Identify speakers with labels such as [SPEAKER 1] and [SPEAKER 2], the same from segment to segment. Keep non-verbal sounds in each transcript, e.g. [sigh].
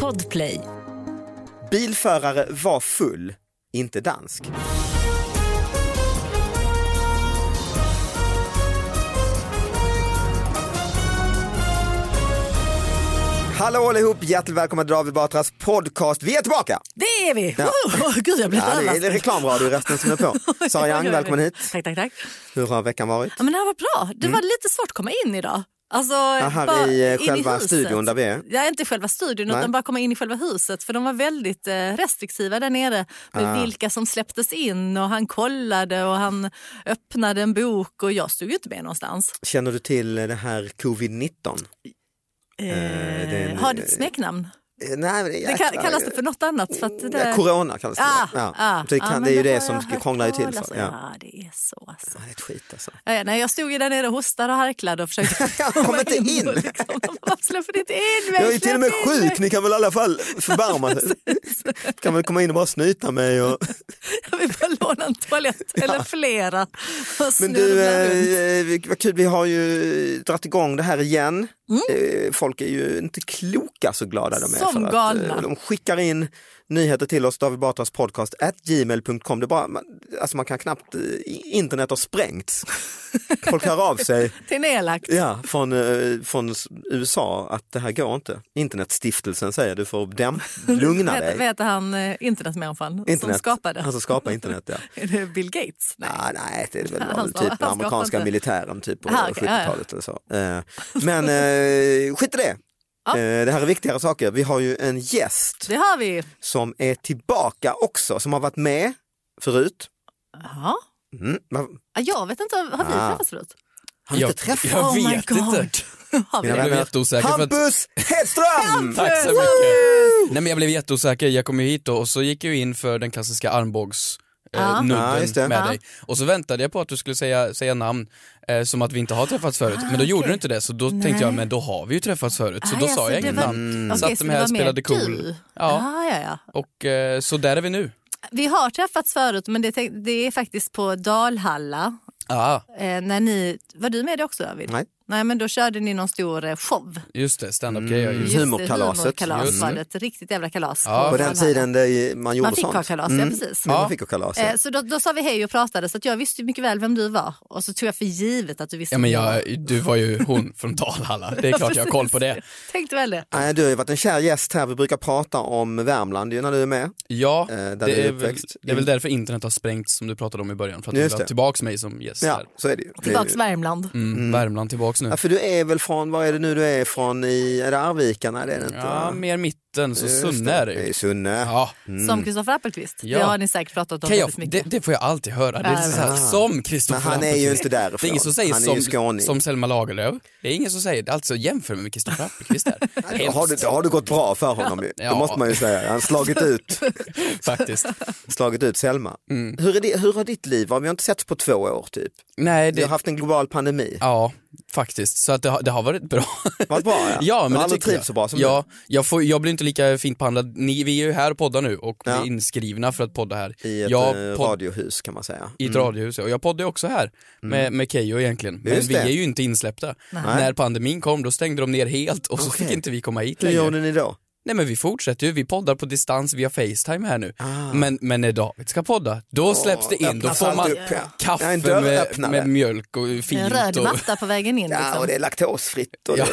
[SPEAKER 1] Podplay.
[SPEAKER 2] Bilförare var full, inte dansk. Hallå allihop, hjärtligt välkomna till David Batras podcast. Vi är tillbaka!
[SPEAKER 1] Det är vi!
[SPEAKER 2] Ja.
[SPEAKER 1] Oh, gud, jag blir
[SPEAKER 2] Ja, det är
[SPEAKER 1] överraskad.
[SPEAKER 2] reklamradiorösten som
[SPEAKER 1] [laughs]
[SPEAKER 2] är på. Sara Young, välkommen hit.
[SPEAKER 1] Tack, tack, tack.
[SPEAKER 2] Hur har veckan varit?
[SPEAKER 1] Ja, men det här var bra. Det var lite svårt att komma in idag. Alltså,
[SPEAKER 2] Aha, i eh,
[SPEAKER 1] in
[SPEAKER 2] själva
[SPEAKER 1] huset.
[SPEAKER 2] studion där vi är.
[SPEAKER 1] Ja, inte själva studion
[SPEAKER 2] Nej.
[SPEAKER 1] utan bara komma in i själva huset för de var väldigt eh, restriktiva där nere
[SPEAKER 2] Ah.
[SPEAKER 1] med vilka som släpptes in och han kollade och han öppnade en bok och jag stod ju inte med någonstans.
[SPEAKER 2] Känner du till det här covid-19?
[SPEAKER 1] Eh,
[SPEAKER 2] det är en-
[SPEAKER 1] har ditt smeknamn?
[SPEAKER 2] Eh, Nej, men det, är
[SPEAKER 1] Det
[SPEAKER 2] jäkla-
[SPEAKER 1] ka- kallas det för något annat? För att det
[SPEAKER 2] Ja, Corona kallas det.
[SPEAKER 1] Ah,
[SPEAKER 2] ja.
[SPEAKER 1] ah,
[SPEAKER 2] det,
[SPEAKER 1] ah,
[SPEAKER 2] kan,
[SPEAKER 1] men
[SPEAKER 2] det är ju det
[SPEAKER 1] har
[SPEAKER 2] som
[SPEAKER 1] jag hört
[SPEAKER 2] krånglar ju till
[SPEAKER 1] talas
[SPEAKER 2] för.
[SPEAKER 1] om.
[SPEAKER 2] Ja.
[SPEAKER 1] Ja, det är så alltså.
[SPEAKER 2] Ja, det är ett skit alltså.
[SPEAKER 1] Ja, ja, nej, jag stod ju där nere och hostade och harklade och försökte
[SPEAKER 2] [laughs] Jag kom inte in.
[SPEAKER 1] och Liksom. De bara, Släpp inte in mig!
[SPEAKER 2] Jag är ju till och med
[SPEAKER 1] släpp in mig."
[SPEAKER 2] sjuk, ni kan väl i alla fall förbarma er.
[SPEAKER 1] [laughs]
[SPEAKER 2] kan väl komma in och bara snyta mig. Och...
[SPEAKER 1] Jag vill bara låna en toalett eller flera. Och
[SPEAKER 2] Men du,
[SPEAKER 1] snurra runt.
[SPEAKER 2] eh, vi- vad kul, vi har ju dragit igång det här igen.
[SPEAKER 1] Mm.
[SPEAKER 2] Eh, Folk är ju inte kloka så glada de är.
[SPEAKER 1] Som
[SPEAKER 2] eh,
[SPEAKER 1] galna.
[SPEAKER 2] De skickar in nyheter till oss, David Batras podcast, at gmail.com. Det är bara, man, alltså man kan knappt, eh, internet
[SPEAKER 1] [laughs]
[SPEAKER 2] har sprängts. Folk hör av sig.
[SPEAKER 1] Det är nedlagt.
[SPEAKER 2] Ja, från, eh, från s- USA att det här går inte. Internetstiftelsen säger du får däm- lugna
[SPEAKER 1] Vet,
[SPEAKER 2] dig.
[SPEAKER 1] vet han eh, internetmänniskan som
[SPEAKER 2] Internet. Alltså-
[SPEAKER 1] skapade?
[SPEAKER 2] Han som skapade internet, ja.
[SPEAKER 1] Är det Bill Gates? [laughs] Nej.
[SPEAKER 2] Ah, nej, det är väl
[SPEAKER 1] Han
[SPEAKER 2] var väl
[SPEAKER 1] sa- han
[SPEAKER 2] typ den
[SPEAKER 1] skapade
[SPEAKER 2] amerikanska
[SPEAKER 1] inte.
[SPEAKER 2] militären typ på
[SPEAKER 1] Ah, okej, ja, ja.
[SPEAKER 2] 70-talet eller så.
[SPEAKER 1] [laughs]
[SPEAKER 2] Eh, Men eh, skit i det.
[SPEAKER 1] Ja.
[SPEAKER 2] Eh, Det här är viktigare saker. Vi har ju en gäst
[SPEAKER 1] Det har vi.
[SPEAKER 2] som är tillbaka också, som har varit med förut.
[SPEAKER 1] Ja.
[SPEAKER 2] Mm. va-
[SPEAKER 1] Ja, Jag vet inte, har vi
[SPEAKER 2] Ah.
[SPEAKER 1] träffats förut?
[SPEAKER 2] Har vi
[SPEAKER 3] jag,
[SPEAKER 2] inte träffat
[SPEAKER 3] Jag
[SPEAKER 1] Oh my
[SPEAKER 3] vet
[SPEAKER 1] God.
[SPEAKER 3] inte.
[SPEAKER 1] Har vi
[SPEAKER 2] Mina
[SPEAKER 1] det?
[SPEAKER 3] Jag blev
[SPEAKER 2] vänner.
[SPEAKER 3] jätteosäker. För att,
[SPEAKER 2] Hampus Hedström!
[SPEAKER 3] tack så
[SPEAKER 1] Woo!
[SPEAKER 3] mycket. Nej, men jag blev jätteosäker. Jag kom ju hit då, och så gick jag ju in för den klassiska armbågs
[SPEAKER 1] Ja.
[SPEAKER 3] eh, nubben
[SPEAKER 2] Ja, just det.
[SPEAKER 3] med
[SPEAKER 1] Ja.
[SPEAKER 3] dig. Och så väntade jag på att du skulle säga, säga namn, eh, som att vi inte har träffats förut. Men då
[SPEAKER 1] Ah,
[SPEAKER 3] gjorde
[SPEAKER 1] okej.
[SPEAKER 3] du inte det, så då
[SPEAKER 1] Nej.
[SPEAKER 3] tänkte jag, men då har vi ju träffats förut. Så
[SPEAKER 1] Ah,
[SPEAKER 3] då
[SPEAKER 1] ja,
[SPEAKER 3] sa
[SPEAKER 1] så
[SPEAKER 3] jag
[SPEAKER 1] det
[SPEAKER 3] inget
[SPEAKER 1] var-
[SPEAKER 3] namn.
[SPEAKER 2] Mm.
[SPEAKER 1] Okej,
[SPEAKER 3] Så att
[SPEAKER 1] så
[SPEAKER 3] de
[SPEAKER 1] det
[SPEAKER 3] här
[SPEAKER 1] var mer
[SPEAKER 3] spelade cool.
[SPEAKER 1] du.
[SPEAKER 3] Ja,
[SPEAKER 1] Ah, ja, ja.
[SPEAKER 3] och eh, så där är vi nu.
[SPEAKER 1] Vi har träffats förut men det, tänk- det är faktiskt på Dalhalla.
[SPEAKER 3] Ja,
[SPEAKER 1] Eh, när ni, var du med det också David?
[SPEAKER 2] Nej.
[SPEAKER 1] Nej men då körde ni någon stor eh, show.
[SPEAKER 3] just det, standup-grejer.
[SPEAKER 2] Mm.
[SPEAKER 3] just
[SPEAKER 1] Just det,
[SPEAKER 2] Humorkalaset. Mm.
[SPEAKER 1] Humorkalas
[SPEAKER 3] Just
[SPEAKER 1] var
[SPEAKER 3] det.
[SPEAKER 1] det, ett riktigt jävla kalas.
[SPEAKER 3] Ja.
[SPEAKER 2] På den
[SPEAKER 1] Dalhalla.
[SPEAKER 2] tiden det, man gjorde
[SPEAKER 1] Man fick
[SPEAKER 2] sånt. Mm,
[SPEAKER 1] ha kalas, ja precis.
[SPEAKER 2] Man
[SPEAKER 3] Ja.
[SPEAKER 2] fick ha kalas. ja.
[SPEAKER 1] Eh, Så då, då sa vi hej och pratade så att jag visste ju mycket väl vem du var och så tog jag för givet att du visste
[SPEAKER 3] Ja, men
[SPEAKER 1] vem jag var.
[SPEAKER 3] jag, du var ju hon från Dalhalla. Det är
[SPEAKER 1] [laughs]
[SPEAKER 3] klart jag har koll på det.
[SPEAKER 1] Tänkte väl det.
[SPEAKER 2] Nej, Du har ju varit en kär gäst här, vi brukar prata om Värmland ju när du är med.
[SPEAKER 3] Ja,
[SPEAKER 2] Eh, där du
[SPEAKER 3] det
[SPEAKER 2] är
[SPEAKER 3] är, väl,
[SPEAKER 2] uppväxt.
[SPEAKER 3] det är väl därför internet har sprängts som du pratade om i början. För att
[SPEAKER 2] Just
[SPEAKER 3] du vill
[SPEAKER 2] det.
[SPEAKER 3] ha tillbaks mig som gäst
[SPEAKER 2] Ja,
[SPEAKER 3] där.
[SPEAKER 2] så är det ju.
[SPEAKER 1] Tillbaks
[SPEAKER 2] Det är
[SPEAKER 1] till
[SPEAKER 2] ju-
[SPEAKER 1] Värmland.
[SPEAKER 3] Mm, Värmland tillbaks nu.
[SPEAKER 2] Ja, för du är väl från, vad är det nu du är från, i, är det Arvika? Nej det är det inte.
[SPEAKER 3] Ja,
[SPEAKER 2] va?
[SPEAKER 3] mer mitten, så
[SPEAKER 2] Just
[SPEAKER 3] Sunne är det
[SPEAKER 2] det är
[SPEAKER 3] ju.
[SPEAKER 2] Sunne.
[SPEAKER 3] Ja,
[SPEAKER 2] Mm.
[SPEAKER 1] Som Kristoffer Appelqvist.
[SPEAKER 3] Ja.
[SPEAKER 1] Det har ni säkert pratat om
[SPEAKER 3] kan jag,
[SPEAKER 1] väldigt
[SPEAKER 3] det,
[SPEAKER 1] mycket.
[SPEAKER 3] det får jag alltid höra. Det är så här,
[SPEAKER 2] Ah.
[SPEAKER 3] som
[SPEAKER 2] Men
[SPEAKER 3] Kristoffer
[SPEAKER 2] han är ju
[SPEAKER 3] Appelqvist.
[SPEAKER 2] inte därifrån.
[SPEAKER 3] Det är ingen som säger
[SPEAKER 2] han är ju
[SPEAKER 3] som,
[SPEAKER 2] skåning.
[SPEAKER 3] som Selma Lagerlöf. Det är ingen som säger det. Alltså jämför mig med Kristoffer
[SPEAKER 2] [laughs]
[SPEAKER 3] Appelqvist där.
[SPEAKER 2] Då har, det,
[SPEAKER 3] Hemskt,
[SPEAKER 2] då har det gått bra för honom ju. Det
[SPEAKER 3] [laughs] Ja.
[SPEAKER 2] måste man ju säga. Han har slagit
[SPEAKER 3] [laughs]
[SPEAKER 2] ut,
[SPEAKER 3] [laughs] faktiskt.
[SPEAKER 2] slagit ut Selma.
[SPEAKER 3] Mm.
[SPEAKER 2] Hur, är det, hur har ditt liv varit? Vi har inte setts på två år typ.
[SPEAKER 3] Nej,
[SPEAKER 2] Vi har
[SPEAKER 3] det,
[SPEAKER 2] haft en global pandemi.
[SPEAKER 3] ja, faktiskt. Så att det, har- det har varit bra. [laughs]
[SPEAKER 2] Varit bra ja.
[SPEAKER 3] Ja, men
[SPEAKER 2] har
[SPEAKER 3] det
[SPEAKER 2] aldrig
[SPEAKER 3] tycker jag.
[SPEAKER 2] trivts så bra som
[SPEAKER 3] ja, jag, får, jag blir inte lika fint behandlad. Ni, vi är ju här och poddar nu och
[SPEAKER 2] Ja.
[SPEAKER 3] blir inskrivna för att podda här.
[SPEAKER 2] du. I ett
[SPEAKER 3] jag
[SPEAKER 2] eh,
[SPEAKER 3] podd-
[SPEAKER 2] radiohus kan man säga.
[SPEAKER 3] i ett radiohus. ja. Och jag poddar ju också här med, med Keyyo egentligen. Men
[SPEAKER 2] Mm. Just
[SPEAKER 3] vi
[SPEAKER 2] det.
[SPEAKER 3] är ju inte insläppta. När pandemin kom då stängde de ner helt och så
[SPEAKER 2] Okej.
[SPEAKER 3] fick inte vi komma hit
[SPEAKER 2] Hur
[SPEAKER 3] längre.
[SPEAKER 2] gjorde ni då?
[SPEAKER 3] Nej men vi fortsätter ju, vi poddar på distans via Facetime här nu.
[SPEAKER 2] Ah.
[SPEAKER 3] Men, men när David ska podda, då släpps det in. Då
[SPEAKER 2] öppnas
[SPEAKER 3] får
[SPEAKER 2] allt
[SPEAKER 3] man
[SPEAKER 2] upp, ja. Ja,
[SPEAKER 3] kaffe
[SPEAKER 2] en dörr
[SPEAKER 3] med,
[SPEAKER 2] öppnade.
[SPEAKER 3] med mjölk och
[SPEAKER 1] En
[SPEAKER 3] fint.
[SPEAKER 1] röd
[SPEAKER 3] och,
[SPEAKER 1] matta på vägen in.
[SPEAKER 2] Ja,
[SPEAKER 1] Liksom.
[SPEAKER 2] och det är laktosfritt. Och
[SPEAKER 3] [laughs] ja,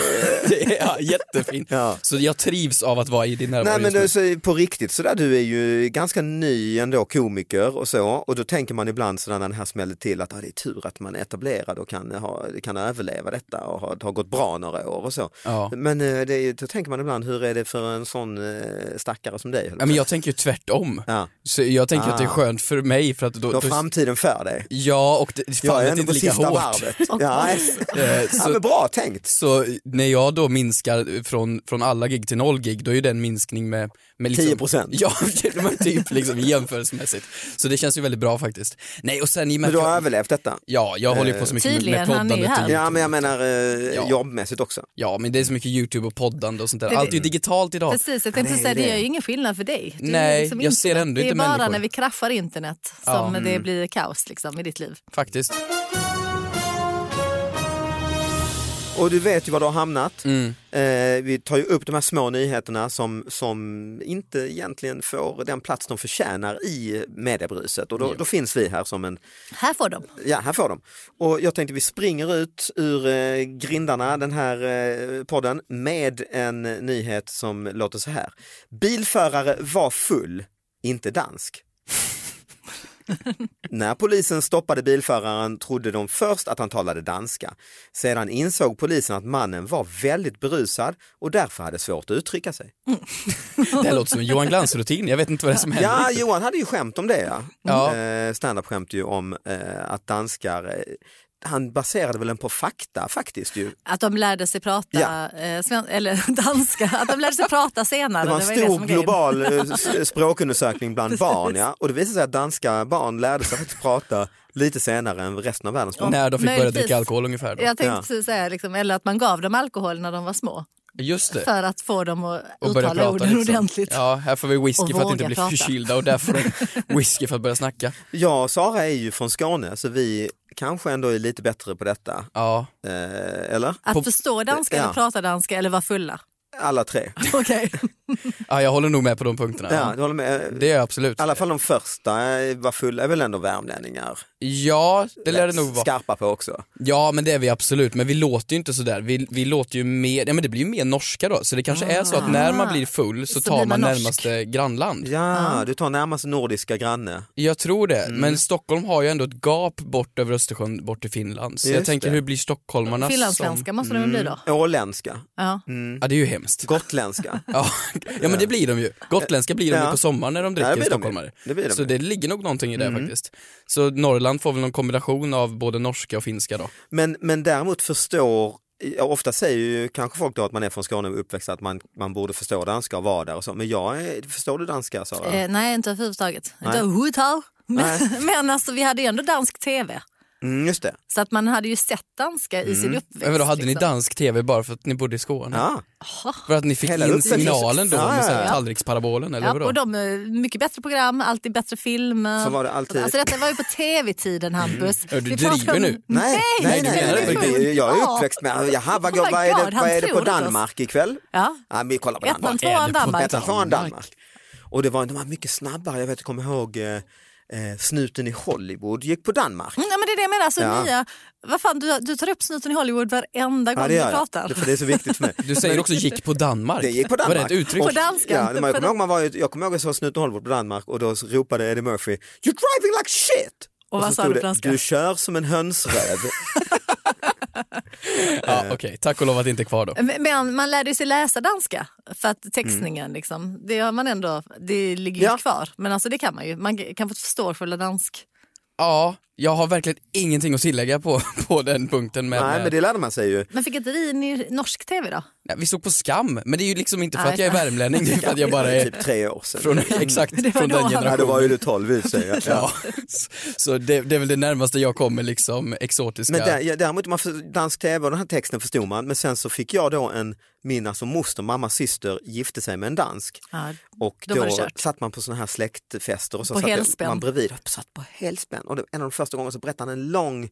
[SPEAKER 2] det...
[SPEAKER 3] det är jättefint.
[SPEAKER 2] Ja.
[SPEAKER 3] Så jag trivs av att vara i din närvaro
[SPEAKER 2] Nej men
[SPEAKER 3] just nu.
[SPEAKER 2] du, så, på riktigt sådär, du är ju ganska ny ändå komiker och så och då tänker man ibland sådär när det här smäller till att ah, det är tur att man är etablerad och kan, ha, kan överleva detta och har, det har gått bra några år och så.
[SPEAKER 3] Ja.
[SPEAKER 2] Men eh, det, är ju- då tänker man ibland, hur är det för en sån eh, stackare som dig? höll
[SPEAKER 3] Ja, Men jag tänker ju tvärtom.
[SPEAKER 2] Ja.
[SPEAKER 3] Så jag tänker att det är
[SPEAKER 2] Ah.
[SPEAKER 3] skönt för mig för att då...
[SPEAKER 2] Du har
[SPEAKER 3] då-
[SPEAKER 2] framtiden för dig.
[SPEAKER 3] ja, och det,
[SPEAKER 2] Jag är
[SPEAKER 3] fallet är
[SPEAKER 2] ändå på
[SPEAKER 3] inte lika
[SPEAKER 2] sista
[SPEAKER 3] hårt.
[SPEAKER 2] varvet. Ja,
[SPEAKER 3] [laughs] Eh,
[SPEAKER 2] ja,
[SPEAKER 3] Så,
[SPEAKER 2] men bra tänkt.
[SPEAKER 3] så när jag då minskar från, från alla gig till noll gig, då är ju den minskning med... med liksom,
[SPEAKER 2] 10%.
[SPEAKER 3] [laughs] Ja, men typ liksom jämförelsemässigt. Så det känns ju väldigt bra faktiskt. Nej, och sen i och med
[SPEAKER 2] Men du
[SPEAKER 3] att
[SPEAKER 2] har
[SPEAKER 3] jag,
[SPEAKER 2] överlevt detta.
[SPEAKER 3] Ja, jag håller ju på så mycket med, med
[SPEAKER 1] Tydligen, han är ju
[SPEAKER 3] poddandet.
[SPEAKER 1] här.
[SPEAKER 3] och-
[SPEAKER 2] Ja men jag menar eh,
[SPEAKER 3] Ja.
[SPEAKER 2] jobbmässigt också.
[SPEAKER 3] ja, men det är så mycket YouTube och poddande och sånt där.
[SPEAKER 1] Det-
[SPEAKER 3] Allt är ju digitalt idag.
[SPEAKER 1] Precis, jag tänkte
[SPEAKER 2] Nej,
[SPEAKER 1] säga det
[SPEAKER 2] det-
[SPEAKER 1] gör ju ingen skillnad för dig. Du är
[SPEAKER 3] Nej,
[SPEAKER 1] liksom
[SPEAKER 3] jag ser
[SPEAKER 1] internet.
[SPEAKER 3] ändå
[SPEAKER 1] Det är
[SPEAKER 3] inte
[SPEAKER 1] bara
[SPEAKER 3] människor.
[SPEAKER 1] när vi kraschar internet som
[SPEAKER 3] Ja. Mm.
[SPEAKER 1] det blir kaos liksom, i ditt liv.
[SPEAKER 3] Faktiskt.
[SPEAKER 2] Och du vet ju var du har hamnat.
[SPEAKER 3] Mm.
[SPEAKER 2] Eh, vi tar ju upp de här små nyheterna som, som inte egentligen får den plats de förtjänar i mediebruset. Och då, då finns vi här som en,
[SPEAKER 1] Här får de.
[SPEAKER 2] ja här får de. Och jag tänkte vi springer ut ur eh, grindarna den här eh, podden med en nyhet som låter så här. Bilförare var full, inte dansk. När polisen stoppade bilföraren trodde de först att han talade danska. Sedan insåg polisen att mannen var väldigt berusad och därför hade svårt att uttrycka sig.
[SPEAKER 3] Det här låter som en Johan Glans-rutin, jag vet inte vad det är som händer.
[SPEAKER 2] Ja, Johan hade ju skämt om det. Ja.
[SPEAKER 3] Ja.
[SPEAKER 2] Eh, Standup skämt ju om eh, att danskar, eh, han baserade väl den på fakta faktiskt ju.
[SPEAKER 1] Att de lärde sig prata
[SPEAKER 2] Ja.
[SPEAKER 1] eh, sven- eller [laughs] danska, att de lärde sig prata senare.
[SPEAKER 2] Det var en
[SPEAKER 1] ju
[SPEAKER 2] stor
[SPEAKER 1] som var grejen.
[SPEAKER 2] global eh, s- språkundersökning bland barn ja. och det visade sig att danska barn lärde sig faktiskt prata lite senare än resten av världens barn.
[SPEAKER 3] När de fick börja
[SPEAKER 1] Möjligtvis.
[SPEAKER 3] dricka alkohol ungefär. Då.
[SPEAKER 1] Jag tänkte
[SPEAKER 2] Ja.
[SPEAKER 1] precis säga, liksom, eller att man gav dem alkohol när de var små
[SPEAKER 3] Just det.
[SPEAKER 1] för att få dem att
[SPEAKER 3] Och börja
[SPEAKER 1] uttala
[SPEAKER 3] prata
[SPEAKER 1] orden
[SPEAKER 3] liksom.
[SPEAKER 1] ordentligt.
[SPEAKER 3] Ja, här får vi
[SPEAKER 1] Och
[SPEAKER 3] whisky för att inte
[SPEAKER 1] våga
[SPEAKER 3] bli
[SPEAKER 1] prata.
[SPEAKER 3] förkylda och där får
[SPEAKER 1] [laughs]
[SPEAKER 3] de whisky för att börja snacka.
[SPEAKER 2] Jag och Sara är ju från Skåne så vi kanske ändå är lite bättre på detta.
[SPEAKER 3] Ja,
[SPEAKER 2] Eh, eller?
[SPEAKER 1] Att
[SPEAKER 3] På-
[SPEAKER 1] förstå danska
[SPEAKER 2] Ja.
[SPEAKER 1] eller prata danska eller vara fulla. [laughs]
[SPEAKER 2] Alla tre.
[SPEAKER 1] Okej.
[SPEAKER 3] ja jag håller nog med på de punkterna.
[SPEAKER 2] Ja, du håller med?
[SPEAKER 3] Det är jag absolut.
[SPEAKER 2] I alla fall de första eh, var fulla, är väl ändå värmlänningar?
[SPEAKER 3] Ja, det lär det
[SPEAKER 2] Rätt
[SPEAKER 3] nog vara.
[SPEAKER 2] Skarpa på också.
[SPEAKER 3] Ja, men det är vi absolut. Men vi låter ju inte sådär. Vi, vi låter ju mer, ja men det blir ju mer norska då. Så det kanske är
[SPEAKER 2] Ah.
[SPEAKER 3] så att när man blir full så,
[SPEAKER 1] Så
[SPEAKER 3] tar
[SPEAKER 1] blir
[SPEAKER 3] man,
[SPEAKER 1] man norsk.
[SPEAKER 3] närmaste grannland.
[SPEAKER 2] Ja, du tar närmast nordiska granne.
[SPEAKER 3] Jag tror det,
[SPEAKER 2] Mm.
[SPEAKER 3] men Stockholm har ju ändå ett gap bort över Östersjön, bort till Finland. Så jag
[SPEAKER 2] Just
[SPEAKER 3] tänker,
[SPEAKER 2] det.
[SPEAKER 3] hur blir stockholmarna som...
[SPEAKER 1] Finlandssvenska måste de väl bli
[SPEAKER 3] Mm.
[SPEAKER 1] då?
[SPEAKER 2] Åländska,
[SPEAKER 1] Ja.
[SPEAKER 3] Ja, det är
[SPEAKER 2] [laughs]
[SPEAKER 3] ju
[SPEAKER 1] [laughs]
[SPEAKER 3] hemskt.
[SPEAKER 2] gotländska.
[SPEAKER 3] Ja, ja men det blir de ju. Gotländska blir de ju
[SPEAKER 2] Ja.
[SPEAKER 3] på sommaren när de dricker
[SPEAKER 2] Ja, det blir de ju.
[SPEAKER 3] stockholmare.
[SPEAKER 2] Det blir de
[SPEAKER 3] så
[SPEAKER 2] ju. Mm.
[SPEAKER 3] det ligger nog någonting i det faktiskt. Så Norrland får väl någon kombination av både norska och finska då.
[SPEAKER 2] Men, men däremot förstår, ja, ofta säger ju kanske folk då att man är från Skåne och uppväxt att man, man borde förstå danska och vara där och så. Men jag är, förstår du danska Sara?
[SPEAKER 1] Eh, nej, inte överhuvudtaget. Inte
[SPEAKER 2] Nej.
[SPEAKER 1] överhuvudtaget.
[SPEAKER 2] Nej.
[SPEAKER 1] [laughs] Men, men alltså, vi hade ju ändå dansk tv.
[SPEAKER 2] Mm, just det.
[SPEAKER 1] Så att man hade ju sett danska i sin uppväxt.
[SPEAKER 3] Mm. Men då hade ni
[SPEAKER 1] liksom.
[SPEAKER 3] dansk tv bara för att ni bodde i Skåne?
[SPEAKER 2] Ja.
[SPEAKER 3] För att ni fick
[SPEAKER 2] Hela
[SPEAKER 3] in
[SPEAKER 2] uppväxten.
[SPEAKER 3] signalen då
[SPEAKER 2] Ja,
[SPEAKER 3] med så
[SPEAKER 2] ja,
[SPEAKER 3] här
[SPEAKER 2] ja.
[SPEAKER 3] tallriksparabolen eller
[SPEAKER 1] Ja,
[SPEAKER 3] vadå?
[SPEAKER 1] och de är mycket bättre program, alltid bättre filmer.
[SPEAKER 2] Så var det alltid.
[SPEAKER 1] Alltså detta var ju på tv-tiden Hampus.
[SPEAKER 3] Mm. Ja, du
[SPEAKER 1] Vi pratar
[SPEAKER 3] driver
[SPEAKER 1] om-
[SPEAKER 3] nu.
[SPEAKER 2] Nej, nej, nej,
[SPEAKER 3] menar
[SPEAKER 2] nej,
[SPEAKER 3] det på
[SPEAKER 2] nej,
[SPEAKER 1] riktigt.
[SPEAKER 2] jag är
[SPEAKER 1] Ja.
[SPEAKER 2] uppväxt med, jaha, vad,
[SPEAKER 1] Oh my
[SPEAKER 2] vad är
[SPEAKER 1] God,
[SPEAKER 2] det,
[SPEAKER 1] han
[SPEAKER 2] vad är det på
[SPEAKER 1] tror det, alltså.
[SPEAKER 2] Danmark ikväll?
[SPEAKER 1] Ja.
[SPEAKER 2] Ja, vi kollar på
[SPEAKER 1] Ettan,
[SPEAKER 2] Danmark.
[SPEAKER 3] är det
[SPEAKER 1] tvåan,
[SPEAKER 3] på
[SPEAKER 1] Danmark.
[SPEAKER 2] Ettan, från
[SPEAKER 3] Danmark.
[SPEAKER 2] Danmark. Och det var, de var mycket snabbare, jag vet, jag kommer ihåg eh, eh, snuten i Hollywood gick på Danmark.
[SPEAKER 1] Mm, Nej, men det är det jag menar, alltså,
[SPEAKER 2] Ja.
[SPEAKER 1] nya, vad fan, du, du tar upp snuten i Hollywood varenda gång
[SPEAKER 2] Ja, det
[SPEAKER 1] du
[SPEAKER 2] gör
[SPEAKER 1] pratar.
[SPEAKER 2] jag, Det- för det är så viktigt för mig.
[SPEAKER 3] Du säger också gick på Danmark.
[SPEAKER 2] Det gick på Danmark.
[SPEAKER 3] Var det ett uttryck?
[SPEAKER 1] På danska.
[SPEAKER 2] Ja, men jag kommer ihåg, man var, ju- jag kommer ihåg att jag såg Snuten Hollywood på Danmark och då ropade Eddie Murphy You're driving like shit!
[SPEAKER 1] Och vad
[SPEAKER 2] så
[SPEAKER 1] sa
[SPEAKER 2] stod
[SPEAKER 1] du på
[SPEAKER 2] det,
[SPEAKER 1] danska?
[SPEAKER 2] Du kör som en
[SPEAKER 3] [laughs]
[SPEAKER 2] hönsröv.
[SPEAKER 3] Ja,
[SPEAKER 2] eh,
[SPEAKER 3] Okej, tack och lov att det inte är kvar då.
[SPEAKER 1] Men- Men man lärde ju sig läsa danska för att textningen liksom, det har man ändå, det ligger ju
[SPEAKER 2] Ja.
[SPEAKER 1] kvar. Men alltså det kan man ju, man kan få förstå själva dansk.
[SPEAKER 3] Ja, jag har verkligen ingenting att tillägga på, [laughs] på den punkten. Med,
[SPEAKER 2] Nej, men det lärde man sig ju.
[SPEAKER 1] Men fick inte vi ni norsk tv då?
[SPEAKER 3] Nej, vi såg på Skam, men det är ju liksom inte för
[SPEAKER 1] Nej.
[SPEAKER 3] att jag är värmlänning, det är för att jag bara är
[SPEAKER 2] Typ tre år sedan.
[SPEAKER 3] från, [laughs] exakt från den
[SPEAKER 2] Ja, då
[SPEAKER 3] generationen.
[SPEAKER 2] var ju du tolv i och för
[SPEAKER 3] [laughs]
[SPEAKER 2] sig. ja.
[SPEAKER 3] Ja, så det, det är väl det närmaste jag kommer liksom exotiska.
[SPEAKER 2] Men där, ja, däremot, man, för- dansk tv och den här texten förstod man, men sen så fick jag då en, min alltså moster, mammas syster, gifte sig med en dansk.
[SPEAKER 1] Ja.
[SPEAKER 2] Och
[SPEAKER 1] Då
[SPEAKER 2] då,
[SPEAKER 1] var det kört.
[SPEAKER 2] satt man på såna här släktfester och så
[SPEAKER 1] På
[SPEAKER 2] satt
[SPEAKER 1] helspänn.
[SPEAKER 2] man bredvid. Jag satt på helspänn och det, en av de första gångerna så berättade han en lång
[SPEAKER 1] [laughs]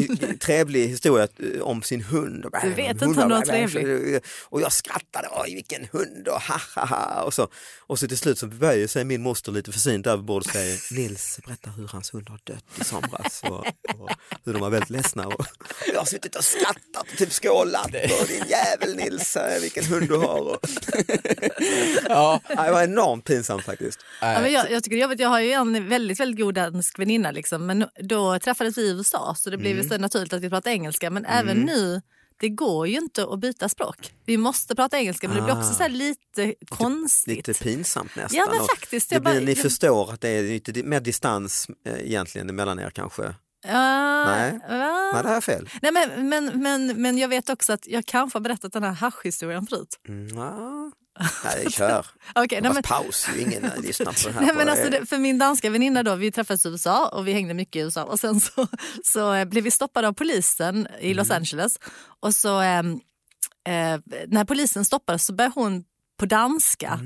[SPEAKER 2] i- trevlig historia eh, om sin hund. Och bara, "Äh,
[SPEAKER 1] Du vet
[SPEAKER 2] "Hon
[SPEAKER 1] inte om
[SPEAKER 2] var-
[SPEAKER 1] det var trevlig."
[SPEAKER 2] Och jag skrattade, oj vilken hund och ha ha ha. Och så, och så till slut så böjer sig min moster lite försynt över bordet och säger Nils berättar hur hans hund har dött i somras och, och hur de var väldigt ledsna. Och, jag har suttit och skrattat och typ skålat och din jävel Nils, eh, vilken hund du har. Och,
[SPEAKER 3] Ja,
[SPEAKER 2] Ja, det var enormt pinsamt faktiskt.
[SPEAKER 1] Ja, men
[SPEAKER 3] nej.
[SPEAKER 1] jag, jag, tycker det är jobbigt. jag har ju en väldigt, väldigt god dansk väninna liksom. men då träffades vi i USA så det blev ju så naturligt att vi pratade engelska. Men även nu, det går ju inte att byta språk. Vi måste prata engelska men det blir också så här lite konstigt.
[SPEAKER 2] Lite pinsamt nästan.
[SPEAKER 1] Ja, men
[SPEAKER 2] Och
[SPEAKER 1] faktiskt,
[SPEAKER 2] Det
[SPEAKER 1] jag
[SPEAKER 2] blir,
[SPEAKER 1] bara-
[SPEAKER 2] ni förstår att det är lite di- mer distans eh, egentligen mellan er kanske?
[SPEAKER 1] Ja,
[SPEAKER 2] Nej.
[SPEAKER 1] va?
[SPEAKER 2] Nej, det här
[SPEAKER 1] [laughs]
[SPEAKER 2] är fel.
[SPEAKER 1] Nej, men, men, men, men jag vet också att jag kanske har berättat den här haschhistorien förut.
[SPEAKER 2] Mm, ja. Nej, kör.
[SPEAKER 1] Okej, [laughs] nej,
[SPEAKER 2] Fast
[SPEAKER 1] men,
[SPEAKER 2] paus, det är ingen som lyssnar på det
[SPEAKER 1] [laughs]
[SPEAKER 2] här.
[SPEAKER 1] nej, men
[SPEAKER 2] på-
[SPEAKER 1] alltså, det, för min danska väninna då, vi träffades i USA och vi hängde mycket i USA och sen så, så eh, blev vi stoppade av polisen i Los Angeles och så eh, eh, när polisen stoppade oss så började hon på danska.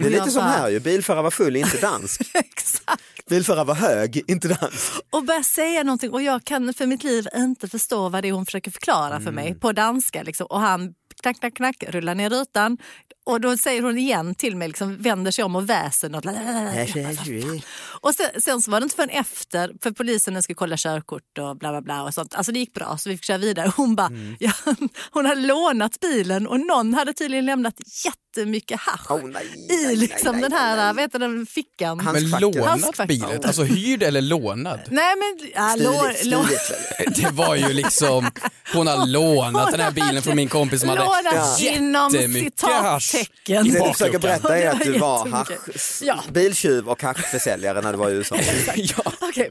[SPEAKER 2] Det är lite som
[SPEAKER 1] Alltså-
[SPEAKER 2] här ju, bilförare var full, inte dansk.
[SPEAKER 1] [laughs] Exakt.
[SPEAKER 2] Bilförare var hög, inte dansk.
[SPEAKER 1] Och börjar säga någonting och jag kan för mitt liv inte förstå vad det är hon försöker förklara för mig på danska. Liksom. Och han knack, knack, knack, rullar ner rutan. Och då säger hon igen till mig, liksom, vänder sig om och väser något. alltså, Och sen, sen så var det inte förrän efter, för polisen den skulle kolla körkort och bla bla bla och sånt. Alltså det gick bra så vi fick köra vidare. Hon bara, ja, [laughs] hon hade lånat bilen och någon hade tydligen lämnat jättemycket hasch
[SPEAKER 2] Åh, nej, nej,
[SPEAKER 1] i liksom
[SPEAKER 2] nej,
[SPEAKER 1] den
[SPEAKER 2] nej,
[SPEAKER 1] här,
[SPEAKER 2] nej.
[SPEAKER 1] vad heter den, fickan.
[SPEAKER 2] Han-
[SPEAKER 3] Men
[SPEAKER 2] Handskfack.
[SPEAKER 3] lånat
[SPEAKER 1] Handskfack.
[SPEAKER 3] bilen? Alltså hyrd eller lånad?
[SPEAKER 1] Nej men, ja, eh, lår,
[SPEAKER 2] Stiligt,
[SPEAKER 1] lår,
[SPEAKER 2] stiligt. väl?
[SPEAKER 3] Eh, Det var ju liksom, hon har lånat den här bilen från min kompis som hade
[SPEAKER 1] lånat inom
[SPEAKER 3] jättemycket hasch.
[SPEAKER 1] citattecken.
[SPEAKER 3] I
[SPEAKER 1] [laughs]
[SPEAKER 2] Det du
[SPEAKER 3] bakluckan.
[SPEAKER 2] försöker berätta är att du var
[SPEAKER 1] Jättemycket.
[SPEAKER 2] hasch,
[SPEAKER 1] Ja.
[SPEAKER 2] biltjuv och haschförsäljare när du var i
[SPEAKER 1] [laughs]
[SPEAKER 2] USA.
[SPEAKER 3] [laughs] ja.
[SPEAKER 1] [laughs] Okej.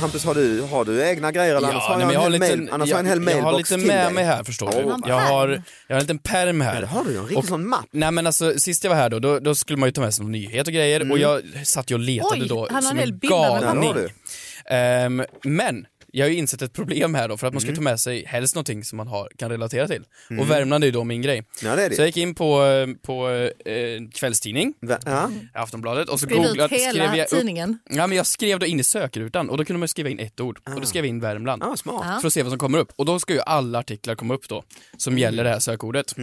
[SPEAKER 2] Hampus, har du, har du egna grejer? Eller annars har
[SPEAKER 3] nej, men
[SPEAKER 2] jag, en hel
[SPEAKER 3] lite-
[SPEAKER 2] mail, annars har jag en hel
[SPEAKER 3] Jag har
[SPEAKER 2] mailbox
[SPEAKER 3] lite
[SPEAKER 2] till
[SPEAKER 3] med
[SPEAKER 2] dig.
[SPEAKER 3] mig här förstår du.
[SPEAKER 2] Åh.
[SPEAKER 3] Jag har, jag har en liten perm här.
[SPEAKER 2] Där har du ju en riktig
[SPEAKER 3] Och-
[SPEAKER 2] sån mapp.
[SPEAKER 3] Nej men alltså sist jag var här då, då, då skulle man ju ta med sig någon nyhet och grejer
[SPEAKER 2] Mm.
[SPEAKER 3] och jag satt ju och letade
[SPEAKER 1] Oj,
[SPEAKER 3] då
[SPEAKER 1] han har
[SPEAKER 3] som
[SPEAKER 1] en hel
[SPEAKER 3] en
[SPEAKER 1] bibba med
[SPEAKER 2] Där har
[SPEAKER 3] galning.
[SPEAKER 2] du.
[SPEAKER 3] Ehm, men jag har ju insett ett problem här då för att man ska
[SPEAKER 2] Mm.
[SPEAKER 3] ta med sig helst någonting som man har, kan relatera till. Och Värmland är ju då min grej.
[SPEAKER 2] Ja, det är det.
[SPEAKER 3] Så jag gick in på, eh, på eh, kvällstidning,
[SPEAKER 2] Va- Ja.
[SPEAKER 3] Aftonbladet och så
[SPEAKER 1] Skriv ut
[SPEAKER 3] googlade, skrev
[SPEAKER 1] hela
[SPEAKER 3] jag upp,
[SPEAKER 1] tidningen.
[SPEAKER 3] ja, men jag skrev då in i sökrutan och då kunde man skriva in ett ord och då skrev jag in Värmland
[SPEAKER 2] Ah, smart.
[SPEAKER 1] Ja.
[SPEAKER 3] för att se vad som kommer upp. Och då ska ju alla artiklar komma upp då, som gäller det här sökordet.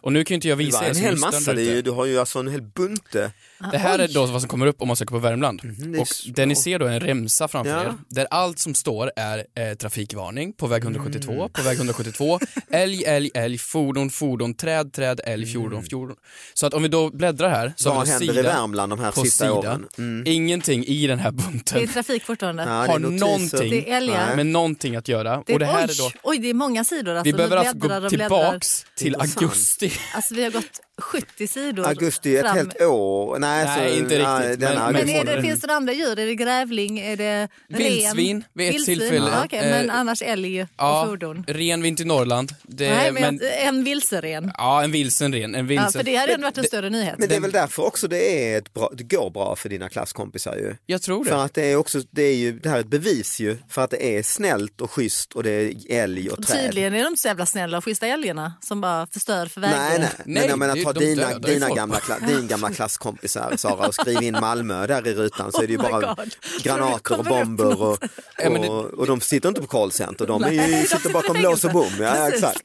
[SPEAKER 3] Och nu kan ju inte jag
[SPEAKER 2] Mm. Det var
[SPEAKER 3] visa er
[SPEAKER 2] en
[SPEAKER 3] som
[SPEAKER 2] hel
[SPEAKER 3] lyssnar
[SPEAKER 2] massa,
[SPEAKER 3] där
[SPEAKER 2] det är
[SPEAKER 3] ute.
[SPEAKER 2] ju, du har ju alltså en hel bunte.
[SPEAKER 3] Det här
[SPEAKER 1] Ah,
[SPEAKER 3] är då vad som kommer upp om man söker på Värmland.
[SPEAKER 1] Mhm,
[SPEAKER 2] det är
[SPEAKER 3] och
[SPEAKER 2] så-
[SPEAKER 3] det ni ser då är en remsa framför
[SPEAKER 2] Ja.
[SPEAKER 3] er, där allt som står är eh, trafikvarning på väg 172,
[SPEAKER 1] Mm.
[SPEAKER 3] på väg 172, älg, älg, älg, fordon, fordon, träd, träd,
[SPEAKER 1] Mm.
[SPEAKER 3] älg, fjordon, fjordon. Så att om vi då bläddrar här, så har
[SPEAKER 2] Vad
[SPEAKER 3] vi då
[SPEAKER 2] händer i
[SPEAKER 3] sida
[SPEAKER 2] Värmland de här
[SPEAKER 3] på
[SPEAKER 2] sista
[SPEAKER 3] sida.
[SPEAKER 2] åren?
[SPEAKER 3] Ingenting i den här
[SPEAKER 1] Mm. Det är
[SPEAKER 3] bunten
[SPEAKER 1] trafik fortfarande.
[SPEAKER 2] Ja, det är
[SPEAKER 3] har
[SPEAKER 2] notiser.
[SPEAKER 3] någonting
[SPEAKER 1] Det är älgar.
[SPEAKER 2] Nej.
[SPEAKER 3] med någonting att göra.
[SPEAKER 1] Det,
[SPEAKER 3] och det här
[SPEAKER 1] oj,
[SPEAKER 3] är då,
[SPEAKER 1] oj, det är många sidor. Alltså,
[SPEAKER 3] vi behöver
[SPEAKER 1] Nu
[SPEAKER 3] alltså
[SPEAKER 1] bläddrar
[SPEAKER 3] gå
[SPEAKER 1] och bläddrar.
[SPEAKER 3] tillbaks till
[SPEAKER 2] Intressant.
[SPEAKER 3] augusti.
[SPEAKER 1] Alltså, vi har gått 70 sidor
[SPEAKER 2] Augusti, ett
[SPEAKER 1] fram.
[SPEAKER 2] helt år? Nej,
[SPEAKER 3] Nej,
[SPEAKER 2] så,
[SPEAKER 3] inte
[SPEAKER 2] nej,
[SPEAKER 3] riktigt,
[SPEAKER 2] denna
[SPEAKER 3] men-
[SPEAKER 1] Men
[SPEAKER 2] augusti.
[SPEAKER 1] är det,
[SPEAKER 3] månader.
[SPEAKER 1] finns det andra djur? Är det grävling? Är det ren?
[SPEAKER 3] Vildsvin vid ett
[SPEAKER 1] Vildsvin?
[SPEAKER 3] tillfälle.
[SPEAKER 1] Ja, okej, men
[SPEAKER 3] Eh,
[SPEAKER 1] annars älg och fordon.
[SPEAKER 3] ren vinter i Norrland. Det,
[SPEAKER 1] Nej, men,
[SPEAKER 3] men,
[SPEAKER 1] en vilseren.
[SPEAKER 3] ja, en vilsen ren. En vilsen.
[SPEAKER 1] Ja, för det hade ändå varit en större nyhet.
[SPEAKER 2] Men det är väl därför också det, är ett bra, det går bra för dina klasskompisar ju.
[SPEAKER 3] Jag tror det.
[SPEAKER 2] För att det är också, det är ju, det här är ett bevis ju för att det är snällt och schysst och det är älg och träd.
[SPEAKER 1] Tydligen är de inte så jävla snälla och schyssta älgarna som bara förstör för vägen.
[SPEAKER 2] Nej, nej.
[SPEAKER 3] Nej,
[SPEAKER 2] men jag menar
[SPEAKER 3] det-
[SPEAKER 2] ta
[SPEAKER 3] de
[SPEAKER 2] dina,
[SPEAKER 3] dödar ju
[SPEAKER 2] dina
[SPEAKER 3] folk.
[SPEAKER 2] gamla, kla- din gamla klasskompisar Sara och skriv in Malmö där i rutan så är det ju
[SPEAKER 1] Oh my
[SPEAKER 2] bara
[SPEAKER 1] God.
[SPEAKER 2] granater och
[SPEAKER 1] Kommer det upp
[SPEAKER 2] bomber och,
[SPEAKER 3] Ja, men det-
[SPEAKER 2] och, och de sitter inte på callcenter, de är
[SPEAKER 1] Nej, de
[SPEAKER 2] ju,
[SPEAKER 1] sitter
[SPEAKER 2] sitter
[SPEAKER 1] i
[SPEAKER 2] bakom lås och bom.
[SPEAKER 1] fängelse.
[SPEAKER 2] Ja,
[SPEAKER 1] Precis.
[SPEAKER 2] exakt.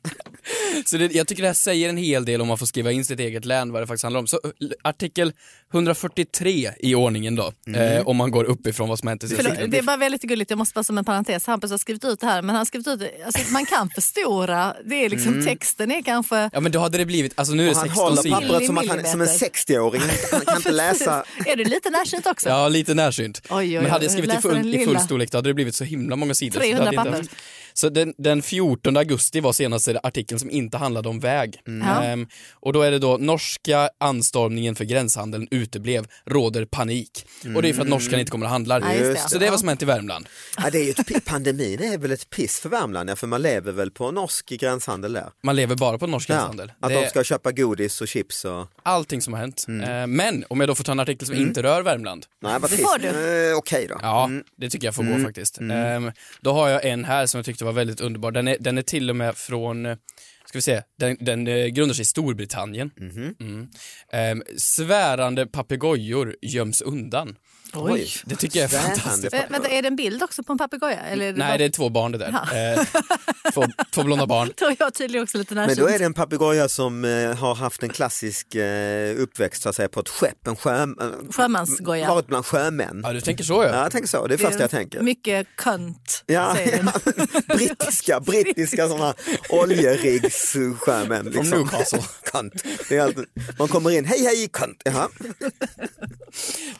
[SPEAKER 3] Så det, jag tycker det här säger en hel del om man får skriva in sitt eget län, vad det faktiskt handlar om. Så l- artikel 143 i ordningen då,
[SPEAKER 2] Mm.
[SPEAKER 3] eh, om man går uppifrån vad som har hänt i sin
[SPEAKER 1] Förlåt,
[SPEAKER 3] cykel.
[SPEAKER 1] det är bara väldigt gulligt, jag måste bara som en parentes, Hampus har skrivit ut det här, men han har skrivit ut, det- alltså, man kan förstora, det är liksom,
[SPEAKER 2] Mm.
[SPEAKER 1] texten är kanske...
[SPEAKER 3] Ja men då hade det blivit, alltså nu är det
[SPEAKER 2] Och han
[SPEAKER 3] 16
[SPEAKER 2] håller
[SPEAKER 3] sidor.
[SPEAKER 2] pappret som, att han, som
[SPEAKER 1] [laughs]
[SPEAKER 2] en 60-åring, han, han kan inte läsa.
[SPEAKER 1] Är du lite närsynt också?
[SPEAKER 3] Ja, lite närsynt.
[SPEAKER 1] Alltså. Oj, oj, oj.
[SPEAKER 3] men hade jag skrivit i
[SPEAKER 1] Läsa den
[SPEAKER 3] full, i full
[SPEAKER 1] lilla.
[SPEAKER 3] storlek då hade det blivit så himla många sidor. så det
[SPEAKER 1] 300
[SPEAKER 3] hade inte
[SPEAKER 1] papper.
[SPEAKER 3] haft- Så den, den 14 augusti var senaste artikeln som inte handlade om väg.
[SPEAKER 1] Ja.
[SPEAKER 3] Ehm, och då är det då norska anstormningen för gränshandeln uteblev, råder panik.
[SPEAKER 2] Mm.
[SPEAKER 3] Och det är för att norskan inte kommer att handla.
[SPEAKER 1] Ja, just det.
[SPEAKER 3] Så det är vad som hänt i Värmland.
[SPEAKER 2] Ja, det är ju ett, pi- pandemin är väl ett piss för Värmland, ja, för man lever väl på norsk gränshandel där.
[SPEAKER 3] Man lever bara på norsk
[SPEAKER 2] Ja,
[SPEAKER 3] gränshandel.
[SPEAKER 2] att
[SPEAKER 3] det
[SPEAKER 2] de
[SPEAKER 3] är
[SPEAKER 2] ska Mm. köpa godis och chips och...
[SPEAKER 3] allting som har hänt. Eh, Men om jag då får ta en artikel
[SPEAKER 2] Mm.
[SPEAKER 3] som inte rör Värmland.
[SPEAKER 2] Nej, vad
[SPEAKER 1] Det
[SPEAKER 2] trist.
[SPEAKER 1] får du.
[SPEAKER 2] Eh, Okej då.
[SPEAKER 3] Ja, det tycker jag får gå faktiskt. Ehm, då har jag en här som jag tyckte var väldigt underbar. Den är, den är till och med från, eh, ska vi se, den, den eh, grundar sig i Storbritannien. Mm. Ehm, svärande papegojor göms undan.
[SPEAKER 1] Oj.
[SPEAKER 3] Det tycker jag är
[SPEAKER 2] Svärande
[SPEAKER 3] fantastiskt.
[SPEAKER 1] Vä- Eh, Vänta, är det en bild också på en papegoja? Eller är det
[SPEAKER 3] Nej,
[SPEAKER 1] bara-
[SPEAKER 3] det är två barn det där. Ehm, två, två blonda barn.
[SPEAKER 1] Då är [laughs] jag tydligen också lite
[SPEAKER 2] Men
[SPEAKER 1] närsynt.
[SPEAKER 2] då är det en papegoja som eh, har haft en klassisk eh, uppväxt så att säga på ett skepp, en sjö, eh,
[SPEAKER 1] Sjömansgoja.
[SPEAKER 2] varit bland sjömän.
[SPEAKER 3] Ja, du tänker så
[SPEAKER 2] Ja,
[SPEAKER 3] ja.
[SPEAKER 2] jag tänker så, det är det första jag tänker.
[SPEAKER 1] Mycket könt,
[SPEAKER 2] Ja,
[SPEAKER 1] säger
[SPEAKER 2] [laughs]
[SPEAKER 1] den.
[SPEAKER 2] brittiska, brittiska sådana oljerigssjömän. Liksom.
[SPEAKER 3] Newcastle.
[SPEAKER 2] [laughs] Kant. Det är alltid, man kommer in, hej hej kant. Jaha.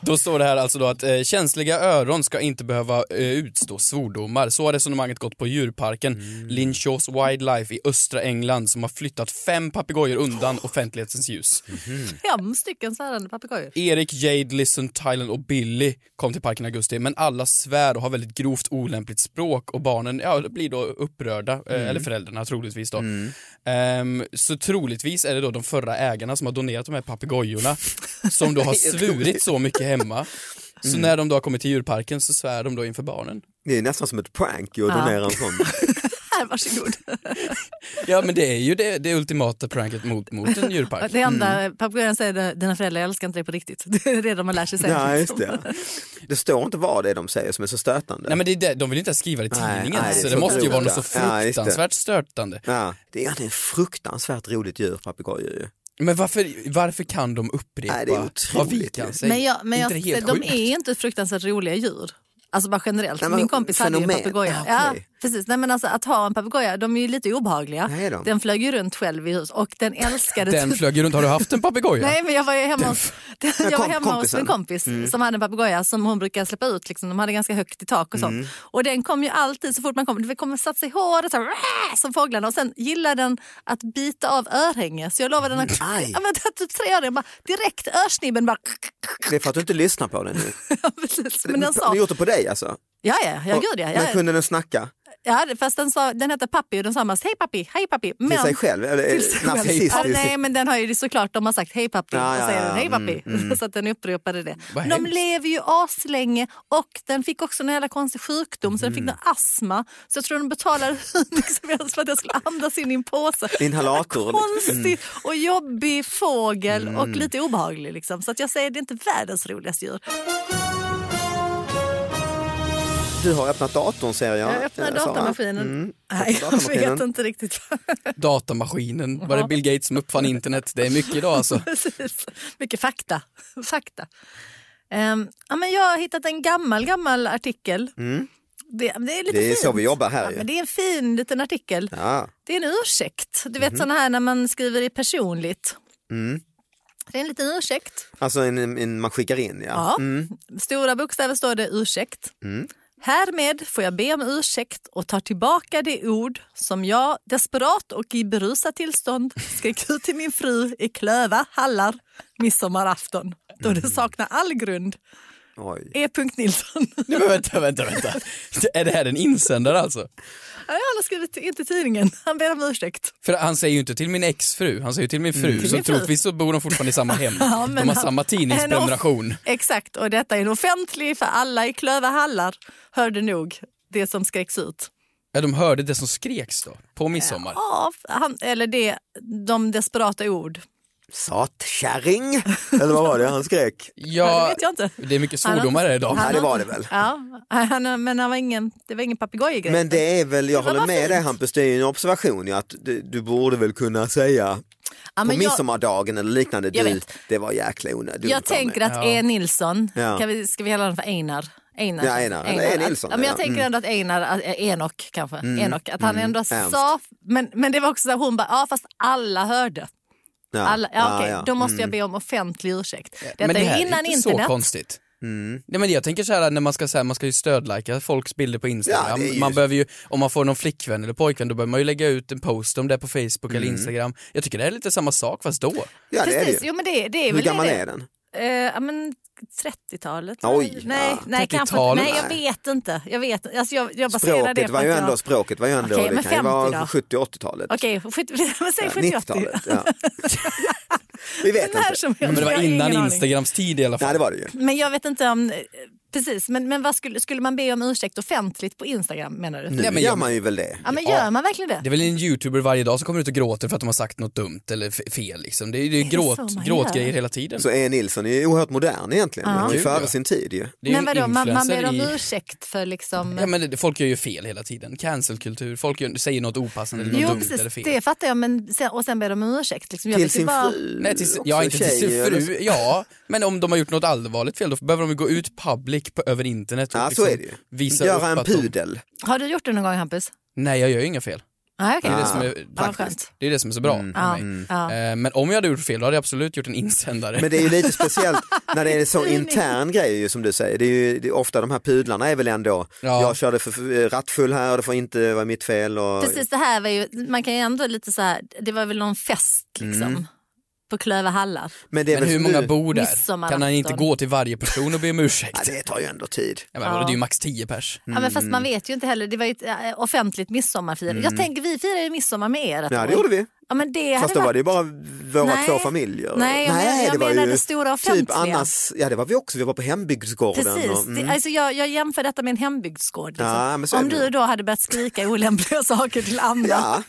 [SPEAKER 3] Då står det här alltså då att eh, känsliga öron ska inte behöva eh, utstå svordomar. Så har resonemanget gått på djurparken Linshaws Wildlife i östra England som har flyttat fem papegojor undan offentlighetens ljus.
[SPEAKER 1] Fem stycken svärande papegojor.
[SPEAKER 3] Erik, Jade, Listen, Thailand och Billy kom till parken i augusti men alla svär och har väldigt grovt olämpligt språk och barnen ja, blir då upprörda, eh,
[SPEAKER 2] Mm.
[SPEAKER 3] eller föräldrarna troligtvis då. Ehm, så troligtvis är det då de förra ägarna som har donerat de här papegojorna
[SPEAKER 2] [laughs]
[SPEAKER 3] som då har svurit så mycket hemma. Så
[SPEAKER 2] Mm.
[SPEAKER 3] när de då har kommit till djurparken så svär de då inför barnen.
[SPEAKER 2] Det är nästan som ett prank ju att donera en sån.
[SPEAKER 1] här, varsågod.
[SPEAKER 3] Ja men det är ju det, det ultimata pranket mot, mot
[SPEAKER 2] [laughs]
[SPEAKER 3] en djurpark.
[SPEAKER 1] Det enda
[SPEAKER 2] Mm.
[SPEAKER 1] papegojan säger är dina föräldrar älskar inte dig på riktigt. [laughs] Det är det de har lärt sig sen.
[SPEAKER 2] Ja, just det. det står inte vad det är de säger som är så stötande.
[SPEAKER 3] Nej men det är det, de vill inte ens skriva det i
[SPEAKER 2] Nej,
[SPEAKER 3] tidningen
[SPEAKER 2] nej, det är
[SPEAKER 3] så det
[SPEAKER 2] så
[SPEAKER 3] måste ju vara något så
[SPEAKER 2] otroligt. Ja, just det.
[SPEAKER 3] fruktansvärt störtande.
[SPEAKER 2] Ja, det är ett fruktansvärt roligt djur, papegojor ju.
[SPEAKER 3] Men varför, varför kan de upprepa
[SPEAKER 2] Nej, det är otroligt
[SPEAKER 3] vad vi
[SPEAKER 2] ju.
[SPEAKER 3] kan säga?
[SPEAKER 1] Men, jag, men jag,
[SPEAKER 3] inte det helt
[SPEAKER 1] de
[SPEAKER 3] sjukt?
[SPEAKER 1] är inte fruktansvärt roliga djur. Alltså bara generellt.
[SPEAKER 2] Nej, men
[SPEAKER 1] Min kompis hade ju
[SPEAKER 2] fenomen.
[SPEAKER 1] en papegoja.
[SPEAKER 2] Ah,
[SPEAKER 1] Ja,
[SPEAKER 2] okej.
[SPEAKER 1] precis. Nej, men alltså, att ha en papegoja, de är ju lite obehagliga.
[SPEAKER 2] Nej, är de?
[SPEAKER 1] Den flög ju runt själv i hus och den älskade
[SPEAKER 3] [laughs]
[SPEAKER 1] typ-
[SPEAKER 3] Den flög ju runt, har du haft en papegoja?
[SPEAKER 1] [laughs] Nej, men jag var ju hemma hos, [laughs] jag var
[SPEAKER 2] kom-
[SPEAKER 1] hemma hos
[SPEAKER 2] kompisen. Mm.
[SPEAKER 1] en kompis som hade en papegoja som hon brukade släppa ut. Liksom. De hade ganska högt i tak och sånt.
[SPEAKER 2] Mm.
[SPEAKER 1] Och den kom ju alltid så fort man kom. Det kom och satte sig i håret så här, "Wah!" som fåglarna. Och sen gillade den att bita av örhänge. Så jag lovade den att,
[SPEAKER 2] Aj.
[SPEAKER 1] ja, men, att typ tre örhängen, bara, direkt örsnibben bara...
[SPEAKER 2] Det är för att du inte lyssnar på den nu.
[SPEAKER 1] Precis. Men den
[SPEAKER 2] Du
[SPEAKER 1] sa,
[SPEAKER 2] har
[SPEAKER 1] ja,
[SPEAKER 2] gjort det på dig alltså?
[SPEAKER 1] ja, ja,
[SPEAKER 2] Och-
[SPEAKER 1] gud ja.
[SPEAKER 2] Men
[SPEAKER 1] ja,
[SPEAKER 2] kunde den snacka
[SPEAKER 1] ja fast den, sa, den hette Pappi och den sa mest hej pappi, hej pappi.
[SPEAKER 2] till
[SPEAKER 1] Men
[SPEAKER 2] sig själv? Eller,
[SPEAKER 1] till sig själv.
[SPEAKER 2] narcissistisk?
[SPEAKER 1] [laughs] Ja, nej, men den har ju såklart, de har sagt hej pappi
[SPEAKER 2] Ja,
[SPEAKER 1] och
[SPEAKER 2] ja,
[SPEAKER 1] säger
[SPEAKER 2] ja.
[SPEAKER 1] den hej pappi.
[SPEAKER 2] Mm,
[SPEAKER 1] [laughs] Så att den upprepade det.
[SPEAKER 3] Vad
[SPEAKER 1] de
[SPEAKER 3] hemskt.
[SPEAKER 1] lever ju aslänge och den fick också en jävla konstig sjukdom så den
[SPEAKER 3] Mm.
[SPEAKER 1] fick någon astma. Så jag tror den betalade [laughs] hur mycket som helst för att jag skulle andas in i en påse.
[SPEAKER 2] Inhalator? liksom.
[SPEAKER 1] Konstig och jobbig fågel och
[SPEAKER 2] Mm.
[SPEAKER 1] lite obehaglig. Liksom. Så att jag säger det är inte världens roligaste djur.
[SPEAKER 2] Du har öppnat datorn ser jag.
[SPEAKER 1] Jag öppnar
[SPEAKER 2] eh, Sara.
[SPEAKER 1] datamaskinen.
[SPEAKER 2] Mm.
[SPEAKER 1] Nej, jag
[SPEAKER 2] Datamaskinen.
[SPEAKER 1] vet inte riktigt. [laughs]
[SPEAKER 3] Datamaskinen, var det Bill Gates som uppfann internet? Det är mycket idag alltså. [laughs]
[SPEAKER 1] Precis. Mycket fakta. [laughs] fakta. Ehm, ja, men jag har hittat en gammal, gammal artikel. Det, det är lite
[SPEAKER 2] Mm. Det är
[SPEAKER 1] fint.
[SPEAKER 2] så vi jobbar
[SPEAKER 1] Ja,
[SPEAKER 2] här
[SPEAKER 1] men
[SPEAKER 2] ju.
[SPEAKER 1] det är en fin liten artikel.
[SPEAKER 2] Ja. Mhm.
[SPEAKER 1] Det är en ursäkt. Du vet sådana här när man skriver i personligt.
[SPEAKER 2] Mm.
[SPEAKER 1] Det är en liten ursäkt.
[SPEAKER 2] Alltså en, en, en man skickar in ja.
[SPEAKER 1] Ja.
[SPEAKER 2] Mm.
[SPEAKER 1] Stora bokstäver står det ursäkt.
[SPEAKER 2] Mm.
[SPEAKER 1] Härmed får jag be om ursäkt och tar tillbaka det ord som jag desperat och i berusat tillstånd skrek ut till min fru i Klöva hallar midsommarafton då
[SPEAKER 3] Mm.
[SPEAKER 1] det saknar all grund.
[SPEAKER 2] Oj.
[SPEAKER 1] E. Nilsson.
[SPEAKER 3] Nej, men vänta, vänta, vänta. Är det här en insändare alltså?
[SPEAKER 1] Ja, Han har skrivit inte tidningen. Han ber om ursäkt.
[SPEAKER 3] För han säger ju inte till min exfru, han säger ju till min
[SPEAKER 2] Mm.
[SPEAKER 3] fru.
[SPEAKER 1] Till
[SPEAKER 3] Så
[SPEAKER 1] min fru.
[SPEAKER 3] troligtvis så bor de fortfarande i samma hem.
[SPEAKER 1] [laughs] Ja, men
[SPEAKER 3] de har
[SPEAKER 1] han-
[SPEAKER 3] samma tidningsprenumeration.
[SPEAKER 1] Exakt, och detta är en offentlig för alla i Klöva hallar hörde nog det som skreks ut.
[SPEAKER 3] Ja, de hörde det som skreks då, på midsommar.
[SPEAKER 1] Ja, han, eller det, de desperata ord.
[SPEAKER 2] Satkärring! Eller vad var det han skrek?
[SPEAKER 1] Ja, det
[SPEAKER 3] Ja,
[SPEAKER 1] vet jag inte.
[SPEAKER 3] det är mycket
[SPEAKER 1] Han har
[SPEAKER 3] svordomar här idag.
[SPEAKER 2] Ja det var det väl.
[SPEAKER 1] Ja, han, men han var ingen, det var ingen papegojgrej.
[SPEAKER 2] Men det är väl, jag
[SPEAKER 1] var
[SPEAKER 2] håller
[SPEAKER 1] bara
[SPEAKER 2] med dig
[SPEAKER 1] fint.
[SPEAKER 2] Hampus, det är ju en observation ju att du, du borde väl kunna säga
[SPEAKER 1] ja,
[SPEAKER 2] på
[SPEAKER 1] men jag,
[SPEAKER 2] midsommardagen eller liknande,
[SPEAKER 1] Jag
[SPEAKER 2] du,
[SPEAKER 1] vet.
[SPEAKER 2] det var jäkla onödigt.
[SPEAKER 1] jag tänker att
[SPEAKER 3] Ja.
[SPEAKER 1] E. Nilsson,
[SPEAKER 2] Ja.
[SPEAKER 1] kan vi, ska vi kalla honom för Einar? Einar.
[SPEAKER 2] Ja, Einar. Eller E. Nilsson,
[SPEAKER 1] Att, ja, men jag
[SPEAKER 2] ja.
[SPEAKER 1] tänker
[SPEAKER 2] Mm.
[SPEAKER 1] ändå att Einar, att- eh, Enok kanske, Enok, att han ändå
[SPEAKER 2] Ernst.
[SPEAKER 1] sa, men, men det var också så här, hon bara, ja fast alla hörde.
[SPEAKER 2] Ja.
[SPEAKER 1] Alla, ja, okej, Då måste
[SPEAKER 2] Mm.
[SPEAKER 1] jag be om offentlig ursäkt. Detta
[SPEAKER 3] Men det här
[SPEAKER 1] är
[SPEAKER 3] är
[SPEAKER 1] innan
[SPEAKER 3] inte så
[SPEAKER 1] internet.
[SPEAKER 3] konstigt.
[SPEAKER 2] Mm.
[SPEAKER 3] Nej, men jag tänker så här när man ska, så här, man ska ju stödlajka folks bilder på
[SPEAKER 2] Ja,
[SPEAKER 3] Instagram.
[SPEAKER 2] det är ju-
[SPEAKER 3] man behöver ju, om man får någon flickvän eller pojkvän då behöver man ju lägga ut en post om det på Facebook
[SPEAKER 2] Mm.
[SPEAKER 3] eller Instagram. Jag tycker det är lite samma sak fast då.
[SPEAKER 2] Ja det är det
[SPEAKER 1] Precis,
[SPEAKER 2] ju.
[SPEAKER 1] jo, men det, det är
[SPEAKER 2] Hur
[SPEAKER 1] väl
[SPEAKER 2] gammal
[SPEAKER 1] det.
[SPEAKER 2] är den?
[SPEAKER 1] Eh, ja, men 30-talet?
[SPEAKER 2] Oj,
[SPEAKER 1] nej,
[SPEAKER 2] ja.
[SPEAKER 1] nej, kanske,
[SPEAKER 3] 30-talet.
[SPEAKER 1] nej, jag vet inte. Jag, vet, alltså jag, jag baserar det
[SPEAKER 2] Språket
[SPEAKER 1] på
[SPEAKER 2] var ju
[SPEAKER 1] att
[SPEAKER 2] ändå,
[SPEAKER 1] jag...
[SPEAKER 2] språket var ju ändå,
[SPEAKER 1] Okej, men
[SPEAKER 2] det kan ju
[SPEAKER 1] 50
[SPEAKER 2] vara
[SPEAKER 1] då?
[SPEAKER 2] 70 80-talet.
[SPEAKER 1] Okej, skjut- men [laughs] säg
[SPEAKER 2] Ja,
[SPEAKER 1] 70-80.
[SPEAKER 2] 90-talet.
[SPEAKER 1] [laughs]
[SPEAKER 2] Ja. Vi vet
[SPEAKER 1] Den här
[SPEAKER 2] inte.
[SPEAKER 1] som jag-
[SPEAKER 3] Men det
[SPEAKER 1] jag
[SPEAKER 3] var
[SPEAKER 1] har
[SPEAKER 3] innan
[SPEAKER 1] ingen aning.
[SPEAKER 3] Instagrams tid i alla fall.
[SPEAKER 2] Nej det var det ju.
[SPEAKER 1] Men jag vet inte om... eh, Precis, men, men vad skulle, skulle man be om ursäkt offentligt på Instagram menar du?
[SPEAKER 2] Nu
[SPEAKER 3] Ja, men
[SPEAKER 2] gör
[SPEAKER 3] jag-
[SPEAKER 2] man ju väl det.
[SPEAKER 1] Ja, men gör man verkligen det?
[SPEAKER 3] Det är väl en youtuber varje dag som kommer ut och gråter för att de har sagt något dumt eller f- fel liksom. Det är ju det är
[SPEAKER 1] Det är så
[SPEAKER 3] gråt,
[SPEAKER 1] man
[SPEAKER 3] gråtgrejer
[SPEAKER 1] gör.
[SPEAKER 3] hela tiden.
[SPEAKER 2] Så E. Nilsson är ju oerhört modern egentligen.
[SPEAKER 1] Ja.
[SPEAKER 2] Han är ju
[SPEAKER 3] Gud, ja.
[SPEAKER 2] före sin tid ju.
[SPEAKER 3] det är ju
[SPEAKER 1] men
[SPEAKER 3] en
[SPEAKER 1] vadå, man, man
[SPEAKER 3] influencer
[SPEAKER 1] ber om
[SPEAKER 3] i-
[SPEAKER 1] ursäkt för liksom...
[SPEAKER 3] Ja, men det, folk gör ju fel hela tiden. Cancelkultur, folk gör, säger något opassande eller något
[SPEAKER 1] Mm. jo,
[SPEAKER 3] dumt
[SPEAKER 1] precis,
[SPEAKER 3] eller fel.
[SPEAKER 1] det fattar jag, men sen, och sen ber de om ursäkt. Liksom. Jag
[SPEAKER 2] Till
[SPEAKER 1] vet ju
[SPEAKER 2] sin
[SPEAKER 1] bara-
[SPEAKER 2] fru.
[SPEAKER 3] Nej, till,
[SPEAKER 2] också
[SPEAKER 3] ja, inte till sin
[SPEAKER 2] tjej, eller så.
[SPEAKER 3] fru. Ja, men om de har gjort något allvarligt fel då behöver de ju gå ut public på, över internet och
[SPEAKER 2] Ja, så
[SPEAKER 3] liksom
[SPEAKER 2] är det ju.
[SPEAKER 3] visa upp
[SPEAKER 2] Göra en
[SPEAKER 3] att de-
[SPEAKER 2] pudel.
[SPEAKER 1] Har du gjort det någon gång Hampus?
[SPEAKER 3] Nej, jag gör ju inga fel.
[SPEAKER 1] Nej,
[SPEAKER 3] Det
[SPEAKER 1] okej.
[SPEAKER 3] är,
[SPEAKER 2] Ah, Mm.
[SPEAKER 3] det, som är,
[SPEAKER 1] Ja, vad skönt.
[SPEAKER 3] det är det som är så bra för
[SPEAKER 1] Ja,
[SPEAKER 3] mig.
[SPEAKER 1] ja.
[SPEAKER 3] Eh, Men om jag hade gjort fel då hade jag absolut gjort en insändare.
[SPEAKER 2] Men det är ju lite speciellt när det är
[SPEAKER 1] [laughs]
[SPEAKER 2] en så intern grej ju, som du säger. Det är ju det är ofta de här pudlarna är väl ändå,
[SPEAKER 3] Ja.
[SPEAKER 2] jag körde för- för rattfull här och det får inte vara mitt fel. Och,
[SPEAKER 1] Precis, det här var ju, man kan ju ändå lite så här, det var väl någon fest
[SPEAKER 2] Mm.
[SPEAKER 1] liksom. På Klöva hallar.
[SPEAKER 2] Men det är
[SPEAKER 3] Men
[SPEAKER 2] väl
[SPEAKER 3] hur
[SPEAKER 2] som
[SPEAKER 3] många
[SPEAKER 2] du-
[SPEAKER 3] bor där?
[SPEAKER 1] Midsommarafton.
[SPEAKER 3] Kan han inte gå till varje person och be om ursäkt?
[SPEAKER 2] [laughs] Ja, det Mm. tar ju ändå tid.
[SPEAKER 3] Ja, men,
[SPEAKER 1] Ja.
[SPEAKER 3] vadå, Det är ju max 10 pers. Mm.
[SPEAKER 1] Ja, men fast äh, man vet ju inte heller, det var ju ett eh, offentligt midsommarfirande. Jag tänker vi firar ju midsommar med er. ett
[SPEAKER 2] Mm. Ja
[SPEAKER 1] år.
[SPEAKER 2] det gjorde vi.
[SPEAKER 1] Ja, men det hade
[SPEAKER 2] Fast då var
[SPEAKER 1] varit-
[SPEAKER 2] det ju bara våra
[SPEAKER 1] Nej.
[SPEAKER 2] två familjer.
[SPEAKER 1] Nej, jag menar- jag menar det stora
[SPEAKER 2] typ
[SPEAKER 1] offentliga.
[SPEAKER 2] annars, ja det var vi också, vi var på hembygdsgården.
[SPEAKER 1] Precis,
[SPEAKER 2] Och, mm.
[SPEAKER 1] det, alltså jag, jag jämför detta med en hembygdsgård. Liksom.
[SPEAKER 2] Ja, men så är
[SPEAKER 1] Om
[SPEAKER 2] det
[SPEAKER 1] du
[SPEAKER 2] ju.
[SPEAKER 1] då hade börjat skrika
[SPEAKER 2] [laughs]
[SPEAKER 1] olämpliga saker till andra
[SPEAKER 2] Ja,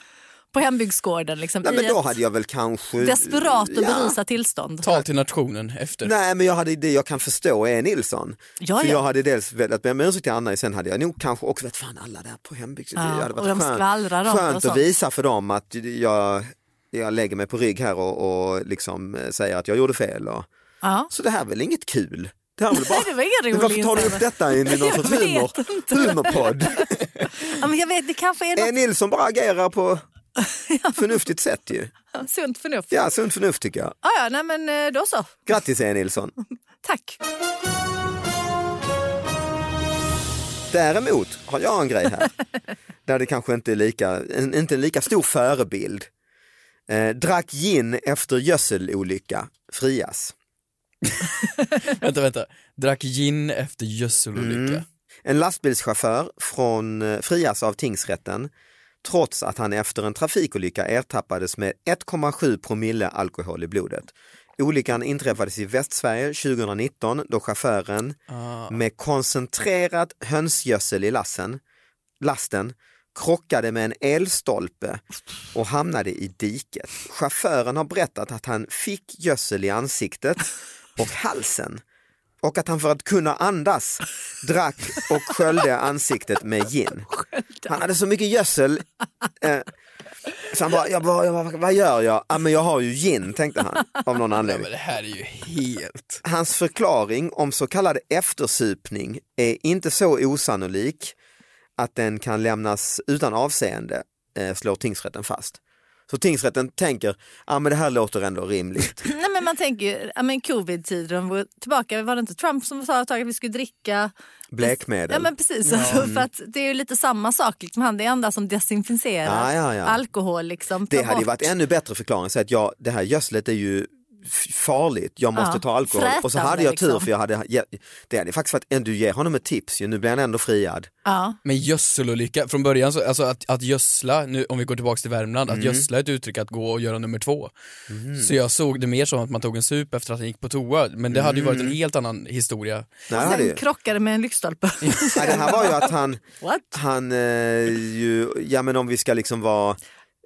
[SPEAKER 1] på hembygdsgården liksom,
[SPEAKER 2] nej,
[SPEAKER 1] i
[SPEAKER 2] men då
[SPEAKER 1] ett
[SPEAKER 2] hade jag väl kanske...
[SPEAKER 1] desperat och
[SPEAKER 2] Ja.
[SPEAKER 1] berusat tillstånd.
[SPEAKER 3] Tal till nationen efter.
[SPEAKER 2] Nej men jag hade det jag kan förstå är Nilsson.
[SPEAKER 1] Ja,
[SPEAKER 2] För
[SPEAKER 1] ja.
[SPEAKER 2] jag hade dels velat be om ursäkt till Anna, sen hade jag nog kanske också vet fan alla där på hembygd.
[SPEAKER 1] Ja,
[SPEAKER 2] det hade
[SPEAKER 1] och de skvallrar om det och
[SPEAKER 2] skönt att
[SPEAKER 1] sånt.
[SPEAKER 2] visa för dem att jag, jag lägger mig på rygg här och, och liksom eh, säger att jag gjorde fel. Och,
[SPEAKER 1] Ja.
[SPEAKER 2] så det här är väl inget kul? Det här är väl bara...
[SPEAKER 1] Nej, det var ingen
[SPEAKER 2] Men
[SPEAKER 1] rolig
[SPEAKER 2] varför tar ni
[SPEAKER 1] inställning.
[SPEAKER 2] upp
[SPEAKER 1] [laughs]
[SPEAKER 2] detta i någon
[SPEAKER 1] Jag
[SPEAKER 2] sorts
[SPEAKER 1] vet
[SPEAKER 2] humor, humorpodd?
[SPEAKER 1] Ja, men jag vet, det kanske är
[SPEAKER 2] Är
[SPEAKER 1] något
[SPEAKER 2] Nilsson bara
[SPEAKER 1] [laughs]
[SPEAKER 2] agerar på förnuftigt sätt ju.
[SPEAKER 1] sunt förnuft.
[SPEAKER 2] Ja, sunt förnuft tycker jag.
[SPEAKER 1] Ja, ja, nej men eh, då så.
[SPEAKER 2] Grattis E. Nilsson.
[SPEAKER 1] Tack.
[SPEAKER 2] Däremot har jag en grej
[SPEAKER 1] [laughs]
[SPEAKER 2] här. Där det kanske inte är lika, en, inte en lika stor förebild. Eh, drack gin efter gödselolycka, frias.
[SPEAKER 3] Vänta, vänta. Drack gin efter gödselolycka.
[SPEAKER 2] Mm. En lastbilschaufför från, eh, frias av tingsrätten trots att han efter en trafikolycka ertappades med 1,7 promille alkohol i blodet. Olyckan inträffades i Västsverige 2019 då chauffören
[SPEAKER 3] Ah.
[SPEAKER 2] med koncentrerat hönsgödsel i lassen, lasten krockade med en elstolpe och hamnade i diket. Chauffören har berättat att han fick gödsel i ansiktet och halsen och att han för att kunna andas drack och sköljde ansiktet med gin. Han hade så mycket gödsel eh, så han bara, jag bara, jag bara, vad gör jag? Ah, men jag har ju gin tänkte han av någon
[SPEAKER 3] Ja,
[SPEAKER 2] anledning.
[SPEAKER 3] men det här är ju helt...
[SPEAKER 2] Hans förklaring om så kallad eftersupning är inte så osannolik att den kan lämnas utan avseende, eh, slår tingsrätten fast. Så tingsrätten tänker, ah, men det här låter
[SPEAKER 1] [laughs]
[SPEAKER 2] ändå rimligt.
[SPEAKER 1] Nej, men man tänker ju, ja, men covid-tider, de var tillbaka, var det inte Trump som sa ett tag att vi skulle dricka? Ja
[SPEAKER 2] Blekmedel.
[SPEAKER 1] men precis, alltså, [laughs] för att det är ju lite samma sak, liksom, han det enda som desinficerar
[SPEAKER 2] Ja, ja, ja.
[SPEAKER 1] alkohol. Liksom,
[SPEAKER 2] Det
[SPEAKER 1] tar
[SPEAKER 2] hade ju
[SPEAKER 1] bort-
[SPEAKER 2] varit ännu bättre förklaring, så att jag, det här gödslet är ju f- farligt, jag måste
[SPEAKER 1] Ja,
[SPEAKER 2] ta alkohol. Och så
[SPEAKER 1] frätande,
[SPEAKER 2] hade jag tur
[SPEAKER 1] liksom.
[SPEAKER 2] för jag hade, ge- det hade faktiskt varit, du ger honom ett tips ju, nu blir han ändå friad.
[SPEAKER 1] ja.
[SPEAKER 3] Men gödselolycka, från början så, alltså att, att gödsla, nu, om vi går tillbaka till Värmland,
[SPEAKER 2] Mm.
[SPEAKER 3] att gödsla är ett uttryck att gå och göra nummer två. Så jag såg det mer som att man tog en sup efter att han gick på toa, men det hade ju varit
[SPEAKER 2] Mm.
[SPEAKER 3] en helt annan historia.
[SPEAKER 2] Nej, det hade ju.
[SPEAKER 1] Sen krockade med en
[SPEAKER 2] [laughs]
[SPEAKER 1] lyktstolpe.
[SPEAKER 2] Nej, det här var ju att han,
[SPEAKER 1] [laughs] What?
[SPEAKER 2] Han eh, ju, ja men om vi ska liksom vara eh,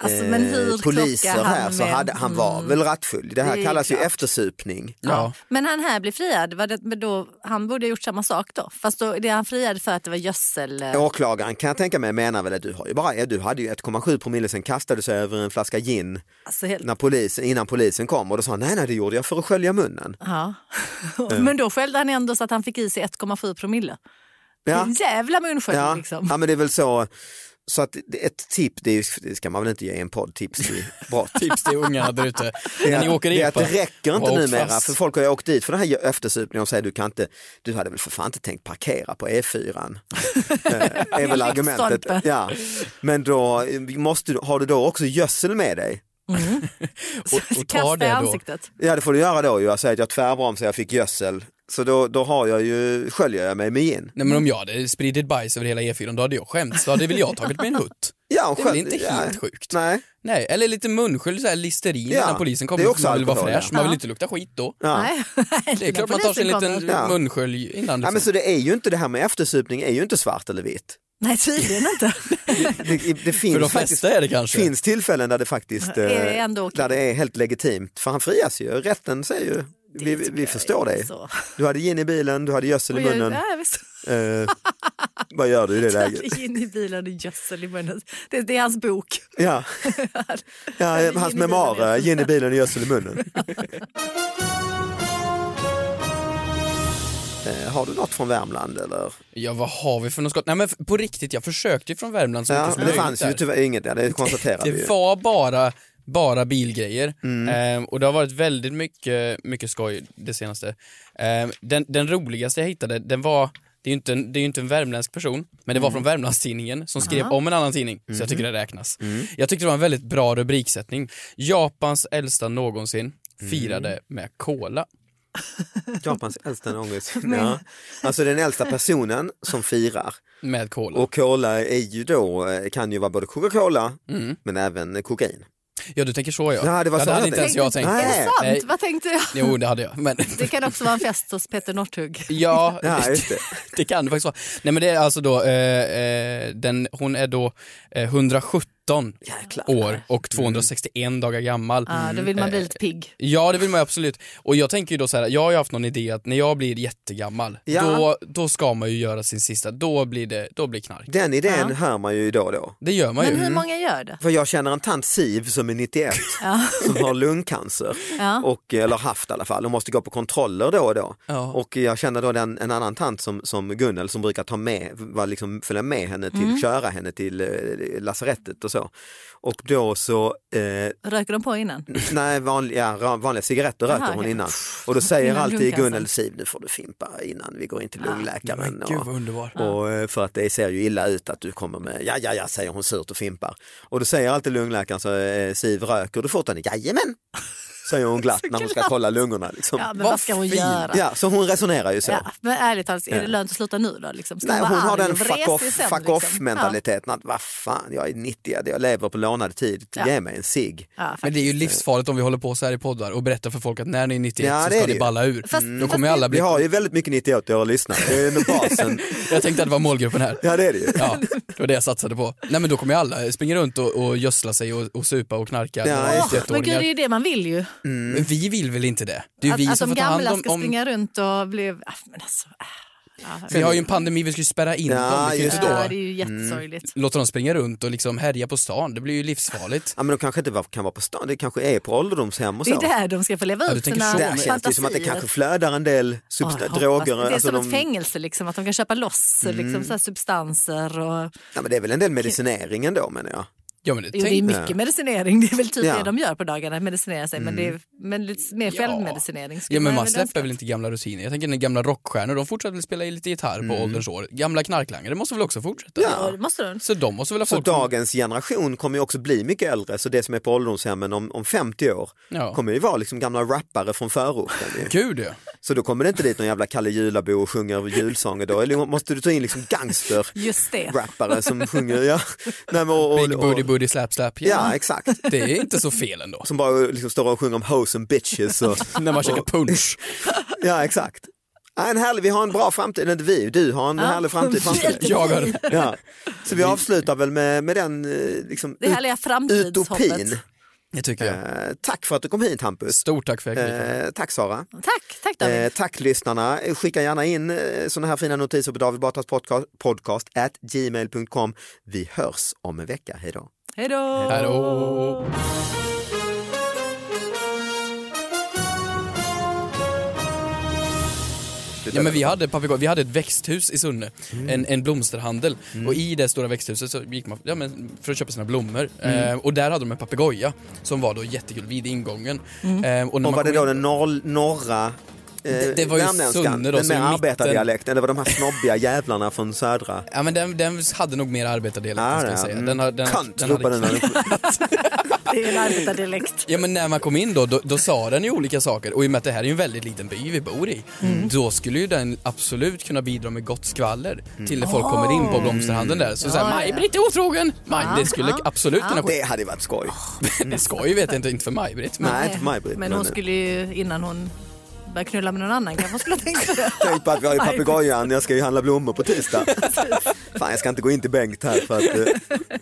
[SPEAKER 1] Alltså, men hur
[SPEAKER 2] poliser
[SPEAKER 1] klockar han
[SPEAKER 2] här så
[SPEAKER 1] med?
[SPEAKER 2] hade, han var väl rattfull. Det här
[SPEAKER 1] Det är
[SPEAKER 2] kallas ju
[SPEAKER 1] klart.
[SPEAKER 2] eftersupning.
[SPEAKER 3] Ja.
[SPEAKER 1] Men han här blev friad, var det, men då, han borde ha gjort samma sak då. Fast då, det han friade för att det var gödsel. eh,
[SPEAKER 2] Åklagaren kan jag tänka mig menar väl att du, har ju bara, ja, du hade ju 1,7 promille sen kastade du sig över en flaska gin
[SPEAKER 1] Alltså, helt,
[SPEAKER 2] när polisen, innan polisen kom och då sa han nej nej det gjorde jag för att skölja munnen.
[SPEAKER 1] ja. [laughs] men då skällde han ändå så att han fick i sig 1,7 promille.
[SPEAKER 2] Ja,
[SPEAKER 1] En jävla munskölj
[SPEAKER 2] ja.
[SPEAKER 1] liksom. [laughs]
[SPEAKER 2] ja men det är väl så. Så att det- ett tip, det, är, ju- det ska man väl inte ge i en podd, tips till brott.
[SPEAKER 3] Tips till ungarna där ute, när ni åker
[SPEAKER 2] det, är
[SPEAKER 3] epa.
[SPEAKER 2] att det räcker inte
[SPEAKER 3] åk
[SPEAKER 2] numera
[SPEAKER 3] fast.
[SPEAKER 2] för folk har ju åkt dit för den här eftersupningen och säger du kan inte, du hade väl för fan inte tänkt parkera på
[SPEAKER 3] [laughs]
[SPEAKER 2] E4. Eh, är väl argumentet.
[SPEAKER 1] lyktstolpe.
[SPEAKER 2] Ja. Men då eh, måste, du- har du då också gödsel med dig?
[SPEAKER 3] och, och tar
[SPEAKER 1] Kasta i
[SPEAKER 3] det då.
[SPEAKER 1] ansiktet.
[SPEAKER 2] Ja det får du göra då ju, jag säger att jag tvärbromsade, jag fick gödsel. Så då, då har jag ju, sköljer jag mig med gin.
[SPEAKER 3] Nej men om jag hade spridit bajs över hela E4 då hade jag skämts, då hade väl jag tagit mig en hutt.
[SPEAKER 2] Ja, och
[SPEAKER 3] Det är väl
[SPEAKER 2] skölj-
[SPEAKER 3] inte
[SPEAKER 2] ja.
[SPEAKER 3] helt sjukt?
[SPEAKER 2] Nej.
[SPEAKER 3] Nej, eller lite munskölj, så här listerin
[SPEAKER 2] Ja,
[SPEAKER 3] när polisen
[SPEAKER 2] det
[SPEAKER 3] kommer.
[SPEAKER 2] är
[SPEAKER 3] för
[SPEAKER 2] också
[SPEAKER 3] Man vill vara
[SPEAKER 2] alkohol,
[SPEAKER 3] fräsch,
[SPEAKER 2] ja.
[SPEAKER 3] man
[SPEAKER 1] Ja.
[SPEAKER 3] vill inte lukta skit då.
[SPEAKER 2] Ja.
[SPEAKER 1] Nej. [laughs]
[SPEAKER 3] Det är klart man tar sig en liten
[SPEAKER 2] Ja.
[SPEAKER 3] munskölj innan.
[SPEAKER 2] Ja,
[SPEAKER 3] Liksom.
[SPEAKER 2] men så det är ju inte det här med eftersupning är ju inte svart eller vitt.
[SPEAKER 1] Nej,
[SPEAKER 2] [laughs]
[SPEAKER 1] tydligen inte.
[SPEAKER 2] Det, det finns
[SPEAKER 3] För de
[SPEAKER 2] faktiskt
[SPEAKER 3] flesta är det kanske.
[SPEAKER 2] finns tillfällen där det faktiskt
[SPEAKER 1] Är det
[SPEAKER 2] eh,
[SPEAKER 1] ändå okej?
[SPEAKER 2] där det är helt legitimt. För han frias ju, rätten säger ju, vi, vi förstår dig.
[SPEAKER 1] Så.
[SPEAKER 2] Du hade gin i bilen, du hade gödsel
[SPEAKER 1] Och
[SPEAKER 2] i
[SPEAKER 1] jag,
[SPEAKER 2] munnen.
[SPEAKER 1] ja, visst.
[SPEAKER 2] Eh, vad
[SPEAKER 1] [laughs]
[SPEAKER 2] gör du i det läget?
[SPEAKER 1] In i bilen och gödsel i munnen. Det, det är hans
[SPEAKER 2] [laughs]
[SPEAKER 1] bok.
[SPEAKER 2] Ja. ja,
[SPEAKER 1] gin i
[SPEAKER 2] hans
[SPEAKER 1] bilen,
[SPEAKER 2] memoarer,
[SPEAKER 1] ja.
[SPEAKER 2] gin i bilen och gödsel i munnen. Eh, Har du något från Värmland eller?
[SPEAKER 3] Ja, vad har vi för något skott? Nej men f- på riktigt, jag försökte ju från Värmland så
[SPEAKER 2] Ja,
[SPEAKER 3] mycket som
[SPEAKER 2] men det
[SPEAKER 3] möjligt
[SPEAKER 2] fanns
[SPEAKER 3] där.
[SPEAKER 2] ju tyvärr inget, ja, det konstaterar vi ju. Mm.
[SPEAKER 3] Det var bara, bara bilgrejer. Ehm, och det har varit väldigt mycket, mycket skoj det senaste. Ehm, den, den roligaste jag hittade, den var det är, ju inte en, det är ju inte en värmländsk person, men det var
[SPEAKER 2] Mm.
[SPEAKER 3] från Värmlandstidningen som skrev om en annan tidning, så
[SPEAKER 2] Mhm.
[SPEAKER 3] jag tycker det räknas.
[SPEAKER 2] Mm.
[SPEAKER 3] Jag tyckte det var en väldigt bra rubriksättning. Japans äldsta någonsin firade
[SPEAKER 2] Mm.
[SPEAKER 3] med cola.
[SPEAKER 2] Japans äldsta [laughs] någonsin. Ja. Alltså den äldsta personen som firar.
[SPEAKER 3] Med cola.
[SPEAKER 2] Och cola är ju då, eh, kan ju vara både Coca-Cola men även kokain.
[SPEAKER 3] Ja, du tänker så ja.
[SPEAKER 2] Ja, det var så
[SPEAKER 3] hade
[SPEAKER 2] jag
[SPEAKER 3] inte ens jag
[SPEAKER 2] tänkte.
[SPEAKER 3] tänkt.
[SPEAKER 1] Är det
[SPEAKER 2] Nej.
[SPEAKER 1] sant?
[SPEAKER 3] Nej.
[SPEAKER 1] Vad tänkte jag?
[SPEAKER 3] Jo, det hade jag. Men,
[SPEAKER 1] Det kan också vara en fest hos Peter Northug.
[SPEAKER 2] [laughs]
[SPEAKER 3] ja,
[SPEAKER 2] Ja, just det.
[SPEAKER 3] det kan det faktiskt vara. Nej men det är alltså då, eh, eh, den, hon är då eh, 117
[SPEAKER 2] Jäklar.
[SPEAKER 3] år och 261 dagar gammal.
[SPEAKER 1] Ja, då vill man bli lite pigg.
[SPEAKER 3] Ja det vill man ju absolut. Och jag tänker ju då så här, jag har ju haft någon idé att när jag blir jättegammal,
[SPEAKER 2] Ja.
[SPEAKER 3] då, då ska man ju göra sin sista, då blir det, då blir knark.
[SPEAKER 2] Den idén
[SPEAKER 1] Ja.
[SPEAKER 2] hör man ju idag och då.
[SPEAKER 3] Det gör man
[SPEAKER 1] Men
[SPEAKER 3] ju.
[SPEAKER 1] hur många gör det?
[SPEAKER 2] För jag känner en tant Siv som är 91
[SPEAKER 1] Ja.
[SPEAKER 2] som har lungcancer,
[SPEAKER 1] Ja.
[SPEAKER 2] och, eh, eller haft i alla fall, och måste gå på kontroller då och då.
[SPEAKER 3] Ja.
[SPEAKER 2] Och jag känner då den, en annan tant som, som Gunnel som brukar ta med, var liksom, följa med henne till, köra henne till eh, lasarettet och så. Och då så, eh,
[SPEAKER 1] Röker de på innan?
[SPEAKER 2] [laughs] nej vanliga, ra- vanliga cigaretter
[SPEAKER 1] Jaha,
[SPEAKER 2] röker hon
[SPEAKER 1] okej.
[SPEAKER 2] innan. Och då säger
[SPEAKER 1] Innan Ah,
[SPEAKER 2] alltid
[SPEAKER 1] lungcancer.
[SPEAKER 2] Gunnel Siv, nu får du fimpa innan vi går in till lungläkaren.
[SPEAKER 3] Men gud
[SPEAKER 2] och,
[SPEAKER 3] vad underbar.
[SPEAKER 2] och eh, för att det ser ju illa ut att du kommer med ja, ja, ja, säger hon surt och fimpar. Och då säger alltid lungläkaren så eh, Siv röker du fortfarande? Jajamän! Säger
[SPEAKER 1] [laughs]
[SPEAKER 2] hon glatt när hon ska
[SPEAKER 1] glatt.
[SPEAKER 2] kolla lungorna. Liksom.
[SPEAKER 1] Ja,
[SPEAKER 2] Ja,
[SPEAKER 1] men
[SPEAKER 3] Vad
[SPEAKER 1] vad ska hon
[SPEAKER 3] fint.
[SPEAKER 1] göra?
[SPEAKER 2] så hon resonerar ju så.
[SPEAKER 1] Ja, men ärligt talat, är det lönt att sluta nu då? Liksom? Ska
[SPEAKER 2] Nej,
[SPEAKER 1] vara
[SPEAKER 2] hon har
[SPEAKER 1] arg
[SPEAKER 2] den
[SPEAKER 1] och
[SPEAKER 2] fuck
[SPEAKER 1] vresig
[SPEAKER 2] off,
[SPEAKER 1] sen,
[SPEAKER 2] fuck
[SPEAKER 1] liksom?
[SPEAKER 2] off mentaliteten. Att, vad fan, jag är 90, jag lever på lånad tid,
[SPEAKER 1] Ja.
[SPEAKER 2] ge mig en cigg.
[SPEAKER 1] Ja, ja,
[SPEAKER 3] Men det är ju livsfarligt om vi håller på så här i poddar och berättar för folk att när ni är 91
[SPEAKER 2] Ja,
[SPEAKER 3] så
[SPEAKER 2] det är
[SPEAKER 3] ska
[SPEAKER 2] det
[SPEAKER 3] ni
[SPEAKER 2] ju.
[SPEAKER 3] balla ur.
[SPEAKER 1] Fast-
[SPEAKER 3] Då kommer ju alla bli...
[SPEAKER 2] Vi har ju väldigt mycket 90-åriga lyssnare, det är ändå
[SPEAKER 3] [laughs]
[SPEAKER 2] basen.
[SPEAKER 3] Jag tänkte att det var målgruppen här.
[SPEAKER 2] ja det är det ju.
[SPEAKER 3] Ja, det var det jag satsade på. Nej men då kommer ju alla springa runt och, och gödsla sig och, och supa och knarka.
[SPEAKER 2] Ja,
[SPEAKER 3] Och
[SPEAKER 2] just det.
[SPEAKER 1] Åh, men gud, det är
[SPEAKER 3] ettåringar.
[SPEAKER 1] ju det man vill ju.
[SPEAKER 3] Men Vi vill väl inte det? Det är ju
[SPEAKER 1] Att,
[SPEAKER 3] vi
[SPEAKER 1] att
[SPEAKER 3] som
[SPEAKER 1] de
[SPEAKER 3] får ta hand
[SPEAKER 1] gamla
[SPEAKER 3] om...
[SPEAKER 1] ska
[SPEAKER 3] om
[SPEAKER 1] springa runt och bli... Ah, Men alltså, ah, ja,
[SPEAKER 3] vi har ju en pandemi, vi ska ju spärra in
[SPEAKER 2] Ja,
[SPEAKER 3] dem. Vi kan ju
[SPEAKER 2] just
[SPEAKER 3] inte
[SPEAKER 1] ja,
[SPEAKER 3] då
[SPEAKER 1] det är ju
[SPEAKER 2] Mm.
[SPEAKER 1] jättesorgligt.
[SPEAKER 3] låta dem springa runt och liksom härja på stan. Det blir ju livsfarligt.
[SPEAKER 2] Ja, men de kanske inte var- kan vara på stan, det kanske är på ålderdomshem och så.
[SPEAKER 1] Det är där de ska få leva
[SPEAKER 3] Ja, du
[SPEAKER 1] ut
[SPEAKER 3] tänker
[SPEAKER 1] sina
[SPEAKER 3] så.
[SPEAKER 2] Där
[SPEAKER 1] fantasier.
[SPEAKER 2] känns det som att det kanske flödar en del
[SPEAKER 1] Ja, jag
[SPEAKER 2] substan-
[SPEAKER 1] hoppas
[SPEAKER 2] droger.
[SPEAKER 1] Det Det är
[SPEAKER 2] alltså
[SPEAKER 1] som
[SPEAKER 2] de- Mm.
[SPEAKER 1] ett fängelse, liksom, att de kan köpa loss liksom, så här substanser. Och...
[SPEAKER 2] Ja, men det är väl en del medicinering ändå menar jag.
[SPEAKER 3] Ja, men det,
[SPEAKER 1] Jo, det är
[SPEAKER 3] tänk,
[SPEAKER 1] mycket medicinering, det är väl typ
[SPEAKER 2] Ja. Mm.
[SPEAKER 1] det de gör på dagarna, medicinera sig. Men det är men lite mer
[SPEAKER 3] Ja.
[SPEAKER 1] självmedicinering. skulle
[SPEAKER 3] ja, men man
[SPEAKER 1] väl
[SPEAKER 3] släpper
[SPEAKER 1] önska.
[SPEAKER 3] väl inte gamla rutiner. Jag tänker den gamla rockstjärnor, de fortsätter väl spela lite gitarr på
[SPEAKER 2] Mm.
[SPEAKER 3] ålderns år. Gamla knarklangare måste väl också fortsätta?
[SPEAKER 1] Ja, det måste de.
[SPEAKER 3] Så de måste väl ha
[SPEAKER 2] Så
[SPEAKER 3] folk...
[SPEAKER 2] dagens generation kommer ju också bli mycket äldre, så det som är på ålderdomshemmen om, om 50 år
[SPEAKER 3] Ja.
[SPEAKER 2] kommer ju vara liksom gamla rappare från förorten. ju.
[SPEAKER 3] Gud ja.
[SPEAKER 2] Så då kommer det inte dit någon jävla Kalle Julabo och sjunger julsånger, då eller måste du ta in liksom gangster
[SPEAKER 1] Just det.
[SPEAKER 2] rappare som sjunger, ja. Nej, men och, och,
[SPEAKER 3] Big booty
[SPEAKER 2] och,
[SPEAKER 3] booty slap slap.
[SPEAKER 2] ja exakt,
[SPEAKER 3] Det är inte så
[SPEAKER 2] [laughs]
[SPEAKER 3] fel ändå.
[SPEAKER 2] som bara liksom står och sjunger om hoes and
[SPEAKER 1] [laughs]
[SPEAKER 2] bitches. Och,
[SPEAKER 3] När man käkar punch.
[SPEAKER 2] ja exakt. Ja, en härlig, vi har en bra framtid, eller inte vi, du har en härlig framtid framför
[SPEAKER 3] [laughs]
[SPEAKER 2] dig.
[SPEAKER 3] Jag har den.
[SPEAKER 2] Ja. Så vi avslutar väl med, med den eh, liksom,
[SPEAKER 1] Det härliga framtidshoppet.
[SPEAKER 2] utopin.
[SPEAKER 3] Det tycker jag.
[SPEAKER 2] Eh, tack för att du kom hit Hampus.
[SPEAKER 3] Stort tack för att jag fick
[SPEAKER 2] Eh, tack Sara.
[SPEAKER 1] Tack, tack David.
[SPEAKER 2] Eh, tack lyssnarna. Eh, Skicka gärna in eh, sådana här fina notiser på David Batras podcast, podcast at gmail.com. Vi hörs om en vecka. Hej då.
[SPEAKER 1] Hej då!
[SPEAKER 3] komma. Hallå. Ja, men vi, hade papegoj- vi hade ett växthus i Sunne,
[SPEAKER 2] Mm.
[SPEAKER 3] en, en blomsterhandel. Och i det stora växthuset så gick man ja, men för att köpa sina blommor.
[SPEAKER 2] Mm.
[SPEAKER 3] Eh, och där hade de en papegoja som var då jättekul vid ingången. Eh, och när
[SPEAKER 2] Mm. Och var
[SPEAKER 3] kom
[SPEAKER 2] det då
[SPEAKER 3] in-
[SPEAKER 2] den norr, norra eh,
[SPEAKER 3] Det- det var ju
[SPEAKER 2] värmländskan,
[SPEAKER 3] Sunne då,
[SPEAKER 2] den
[SPEAKER 3] så i
[SPEAKER 2] mer
[SPEAKER 3] mitten.
[SPEAKER 2] arbetardialekten, det var de här snobbiga jävlarna från södra.
[SPEAKER 3] Ja men den, den hade nog mer arbetardel
[SPEAKER 2] Ja,
[SPEAKER 3] ska jag
[SPEAKER 2] ja,
[SPEAKER 3] säga.
[SPEAKER 2] mm.
[SPEAKER 3] Den, har- den,
[SPEAKER 2] Kant,
[SPEAKER 3] den hade
[SPEAKER 2] ropade den.
[SPEAKER 3] [laughs]
[SPEAKER 1] Det är en arbetardialekt.
[SPEAKER 3] Ja men när man kom in då, då, då sa den ju olika saker och i och med att det här är ju en väldigt liten by vi bor i,
[SPEAKER 1] Mm.
[SPEAKER 3] då skulle ju den absolut kunna bidra med gott skvaller till när folk kommer in på blomsterhandeln där. Så såhär,
[SPEAKER 1] Mm. Ah. Ja, ja, ja.
[SPEAKER 3] Maj-Britt är otrogen! Maj, det skulle
[SPEAKER 1] ja,
[SPEAKER 3] absolut kunna ske.
[SPEAKER 2] Det hade ju varit skoj.
[SPEAKER 3] Det ska ju vet jag inte, inte för Maj-Britt. Men...
[SPEAKER 2] Nej, inte för mig Britt. eh.
[SPEAKER 1] Men hon skulle ju, innan hon började knulla med någon annan kanske hon skulle tänka det.
[SPEAKER 2] Tänk på Typ att vi har ju
[SPEAKER 3] [laughs]
[SPEAKER 2] papegojan, jag ska ju handla blommor på tisdag. Fan jag ska inte gå in till Bengt här för att eh,